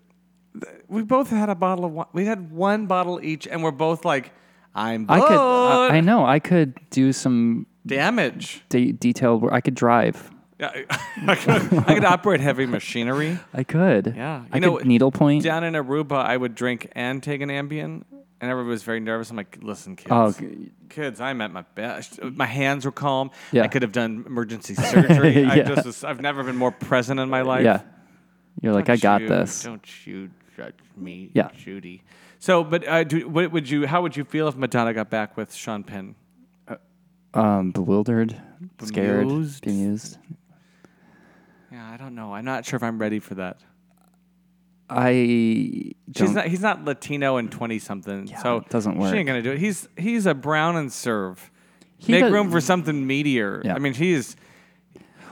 Speaker 3: th- we both had a bottle of wine. We had one bottle each, and we're both like, I'm
Speaker 9: I
Speaker 3: bored.
Speaker 9: could. uh, I, I know. I could do some
Speaker 3: damage.
Speaker 9: de- detailed work. I could drive.
Speaker 3: Yeah, I, I could, I could operate heavy machinery.
Speaker 9: I could.
Speaker 3: Yeah.
Speaker 9: I
Speaker 3: You know,
Speaker 9: could needlepoint.
Speaker 3: Down in Aruba, I would drink and take an Ambien, and everybody was very nervous. I'm like, listen, kids.
Speaker 9: Oh, g-
Speaker 3: Kids, I'm at my best. My hands were calm.
Speaker 9: Yeah.
Speaker 3: I could have done emergency surgery. I
Speaker 9: Yeah.
Speaker 3: just was, I've never been more present in my life.
Speaker 9: yeah. You're like, I
Speaker 3: Don't
Speaker 9: got
Speaker 3: you-
Speaker 9: this.
Speaker 3: Don't you judge me,
Speaker 9: Yeah.
Speaker 3: Judy. So, but uh, do, what would you? How would you feel if Madonna got back with Sean Penn?
Speaker 9: Um, bewildered, scared,
Speaker 3: Bemused.
Speaker 9: bemused.
Speaker 3: Yeah, I don't know. I'm not sure if I'm ready for that.
Speaker 9: I.
Speaker 3: She's
Speaker 9: don't-
Speaker 3: not. He's not Latino and twenty something. so
Speaker 9: it doesn't work.
Speaker 3: She ain't gonna do it. He's he's a brown and serve.
Speaker 9: He
Speaker 3: Make
Speaker 9: does-
Speaker 3: room for something meatier.
Speaker 9: Yeah.
Speaker 3: I mean, he's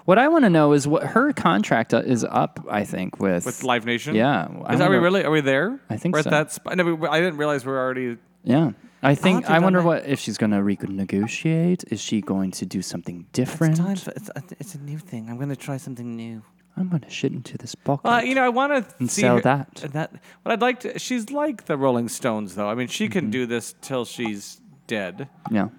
Speaker 9: What I want to know is what her contract uh, is up. I think with
Speaker 3: with Live Nation.
Speaker 9: Yeah, I
Speaker 3: Is, are we
Speaker 9: wonder-
Speaker 3: really? Are we there?
Speaker 9: I think
Speaker 3: we're
Speaker 9: so.
Speaker 3: at that spot. No, we, I didn't realize we were already.
Speaker 9: Yeah, I think
Speaker 3: have to
Speaker 9: I wonder
Speaker 3: done
Speaker 9: what if she's going to renegotiate. Is she going to do something different?
Speaker 3: it's, it's a new thing. I'm gonna try something new.
Speaker 9: I'm going to shit into this bucket.
Speaker 3: Well, you know, I want to
Speaker 9: And
Speaker 3: see
Speaker 9: sell
Speaker 3: her-
Speaker 9: that.
Speaker 3: and That what I'd like to. She's like the Rolling Stones, though. I mean, she
Speaker 9: Mm-hmm.
Speaker 3: can do this till she's dead,
Speaker 9: yeah,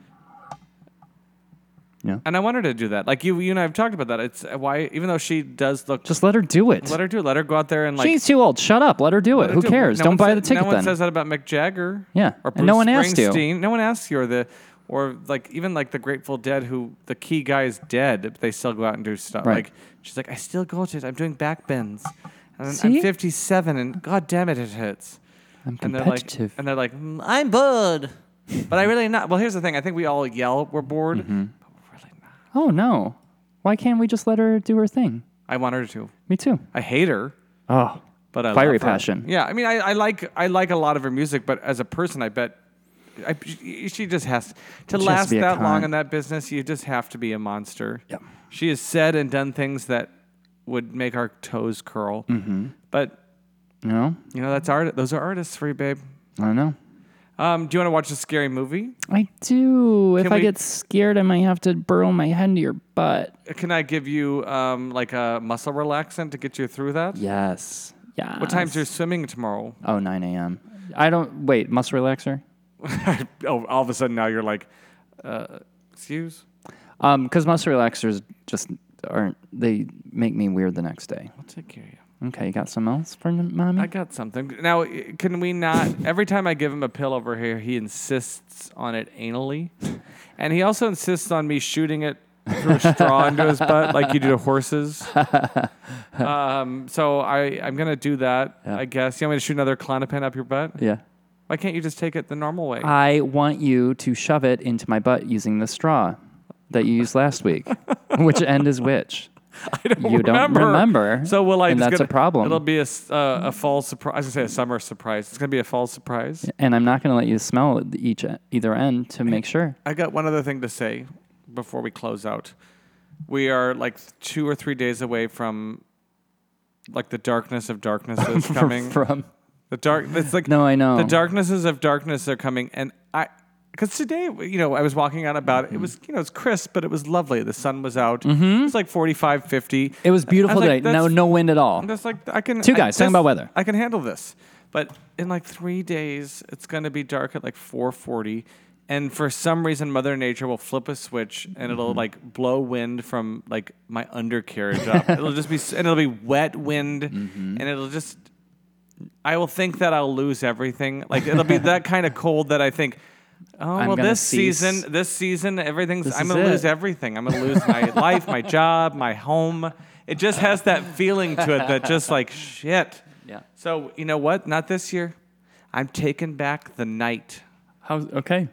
Speaker 3: and I want her to do that. Like you, you and I have talked about that. It's why, even though she does look,
Speaker 9: just let her do it.
Speaker 3: let her do. it. Let her go out there and like.
Speaker 9: she's too old. Shut up. Let her do it.
Speaker 3: let her
Speaker 9: Who
Speaker 3: do it.
Speaker 9: cares?
Speaker 3: No
Speaker 9: Don't
Speaker 3: one
Speaker 9: buy
Speaker 3: sa-
Speaker 9: the ticket
Speaker 3: No
Speaker 9: then.
Speaker 3: one says that about Mick Jagger.
Speaker 9: Yeah,
Speaker 3: or
Speaker 9: and no
Speaker 3: Bruce
Speaker 9: one asked you.
Speaker 3: Springsteen. No one asked you, or the, or like even like the Grateful Dead, who the key guy is dead, but they still go out and do stuff.
Speaker 9: Right.
Speaker 3: Like she's like, I still go to it. I'm doing back bends. And
Speaker 9: See?
Speaker 3: I'm 57, and god damn it, it hits.
Speaker 9: I'm
Speaker 3: And they're like,
Speaker 9: competitive.
Speaker 3: and they're like, "Mm, I'm bored, but I really not. Well, here's the thing. I think we all yell we're bored. But we're really not.
Speaker 9: oh no, why can't we just let her do her thing?
Speaker 3: I want her to.
Speaker 9: Me too.
Speaker 3: I hate her,
Speaker 9: Oh,
Speaker 3: but I
Speaker 9: Fiery
Speaker 3: love her.
Speaker 9: passion.
Speaker 3: Yeah, I mean, I, I like I like a lot of her music, but as a person, I bet I, she just has to
Speaker 9: has to
Speaker 3: last
Speaker 9: be a
Speaker 3: that long
Speaker 9: cunt.
Speaker 3: in that business. You just have to be a monster.
Speaker 9: Yep.
Speaker 3: She has said and done things that would make our toes curl. Mm-hmm. But
Speaker 9: No,
Speaker 3: you know that's art. Those are artists for you, babe.
Speaker 9: I know.
Speaker 3: Um, do you want to watch a scary movie?
Speaker 9: I do. if
Speaker 3: Can
Speaker 9: I
Speaker 3: we-
Speaker 9: get scared, I might have to burrow my head into your butt.
Speaker 3: Can I give you um, like a muscle relaxant to get you through that?
Speaker 9: Yes. Yeah.
Speaker 3: What time's your swimming tomorrow?
Speaker 9: Oh, 9 a.m. I don't. Wait, muscle relaxer?
Speaker 3: Oh, all of a sudden now you're like, uh, excuse?
Speaker 9: Um, because muscle relaxers just aren't. They make me weird the next day.
Speaker 3: I'll take care of you.
Speaker 9: Okay, you got something else for n- mommy?
Speaker 3: I got something. Now, i- can we not? Every time I give him a pill over here, he insists on it anally. And he also insists on me shooting it through a straw into his butt like you do to horses. Um, so I, I'm going to do that, I guess. You want me to shoot another Clonopin up your butt?
Speaker 9: yeah.
Speaker 3: Why can't you just take it the normal way?
Speaker 9: I want you to shove it into my butt using the straw that you used last week. which end is which? I don't you
Speaker 3: remember.
Speaker 9: don't remember.
Speaker 3: So will I?
Speaker 9: And
Speaker 3: just
Speaker 9: that's
Speaker 3: gonna-
Speaker 9: a problem.
Speaker 3: It'll be a s- uh, a fall surprise. I was gonna say a summer surprise. It's gonna be a fall surprise.
Speaker 9: and I'm not going to let you smell each either end to make sure.
Speaker 3: I got one other thing to say before we close out. We are like two or three days away from like the darkness of darknesses coming.
Speaker 9: from
Speaker 3: the dark. It's like
Speaker 9: No, I know.
Speaker 3: The darknesses of darkness are coming, and I. Because today, you know, I was walking out about
Speaker 9: Mm-hmm.
Speaker 3: it. It was, you know, it's crisp, but it was lovely. The sun was out. It was like 45, 50.
Speaker 9: It was beautiful
Speaker 3: like,
Speaker 9: today. No,
Speaker 3: that's-
Speaker 9: no wind at all.
Speaker 3: I'm just like I can.
Speaker 9: Two
Speaker 3: I-
Speaker 9: guys talking
Speaker 3: this-
Speaker 9: about weather.
Speaker 3: I can handle this, but in like three days, it's gonna be dark at like four forty, and for some reason, Mother Nature will flip a switch and it'll
Speaker 9: Mm-hmm.
Speaker 3: like blow wind from like my undercarriage up. It'll just be s- and it'll be wet wind,
Speaker 9: Mm-hmm.
Speaker 3: and it'll just. I will think that I'll lose everything. Like it'll be that kind of cold that I think. Oh well,
Speaker 9: gonna
Speaker 3: this
Speaker 9: cease.
Speaker 3: season, this season, everything's.
Speaker 9: This
Speaker 3: I'm
Speaker 9: is
Speaker 3: gonna lose
Speaker 9: it.
Speaker 3: everything. I'm gonna lose my life, my job, my home. It just has that feeling to it that just like shit.
Speaker 9: Yeah.
Speaker 3: So you know what? Not this year. I'm taking back the night.
Speaker 9: How, okay,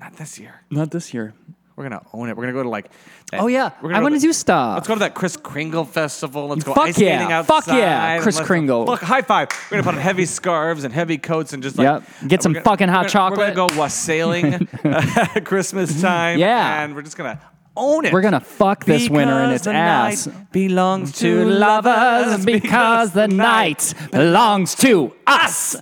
Speaker 3: Not this year.
Speaker 9: not this year.
Speaker 3: We're gonna own it. We're gonna go to like. that-
Speaker 9: Oh yeah,
Speaker 3: We're
Speaker 9: I
Speaker 3: go
Speaker 9: want to
Speaker 3: the-
Speaker 9: do stuff.
Speaker 3: Let's go to that Chris Kringle festival. Let's go
Speaker 9: Fuck
Speaker 3: ice
Speaker 9: yeah.
Speaker 3: skating outside.
Speaker 9: Fuck yeah,
Speaker 3: and
Speaker 9: Kris
Speaker 3: let's-
Speaker 9: Kringle.
Speaker 3: Look, high five. We're gonna put on heavy scarves and heavy coats and just like
Speaker 9: Yep. Get
Speaker 3: we're
Speaker 9: some
Speaker 3: gonna-
Speaker 9: fucking
Speaker 3: we're
Speaker 9: hot
Speaker 3: gonna- We're
Speaker 9: chocolate.
Speaker 3: gonna go wassailing at Christmas time.
Speaker 9: Yeah.
Speaker 3: and we're just gonna own it.
Speaker 9: We're gonna fuck this winter in
Speaker 3: Because
Speaker 9: its
Speaker 3: the
Speaker 9: ass.
Speaker 3: night belongs
Speaker 9: To lovers, because the night belongs to us.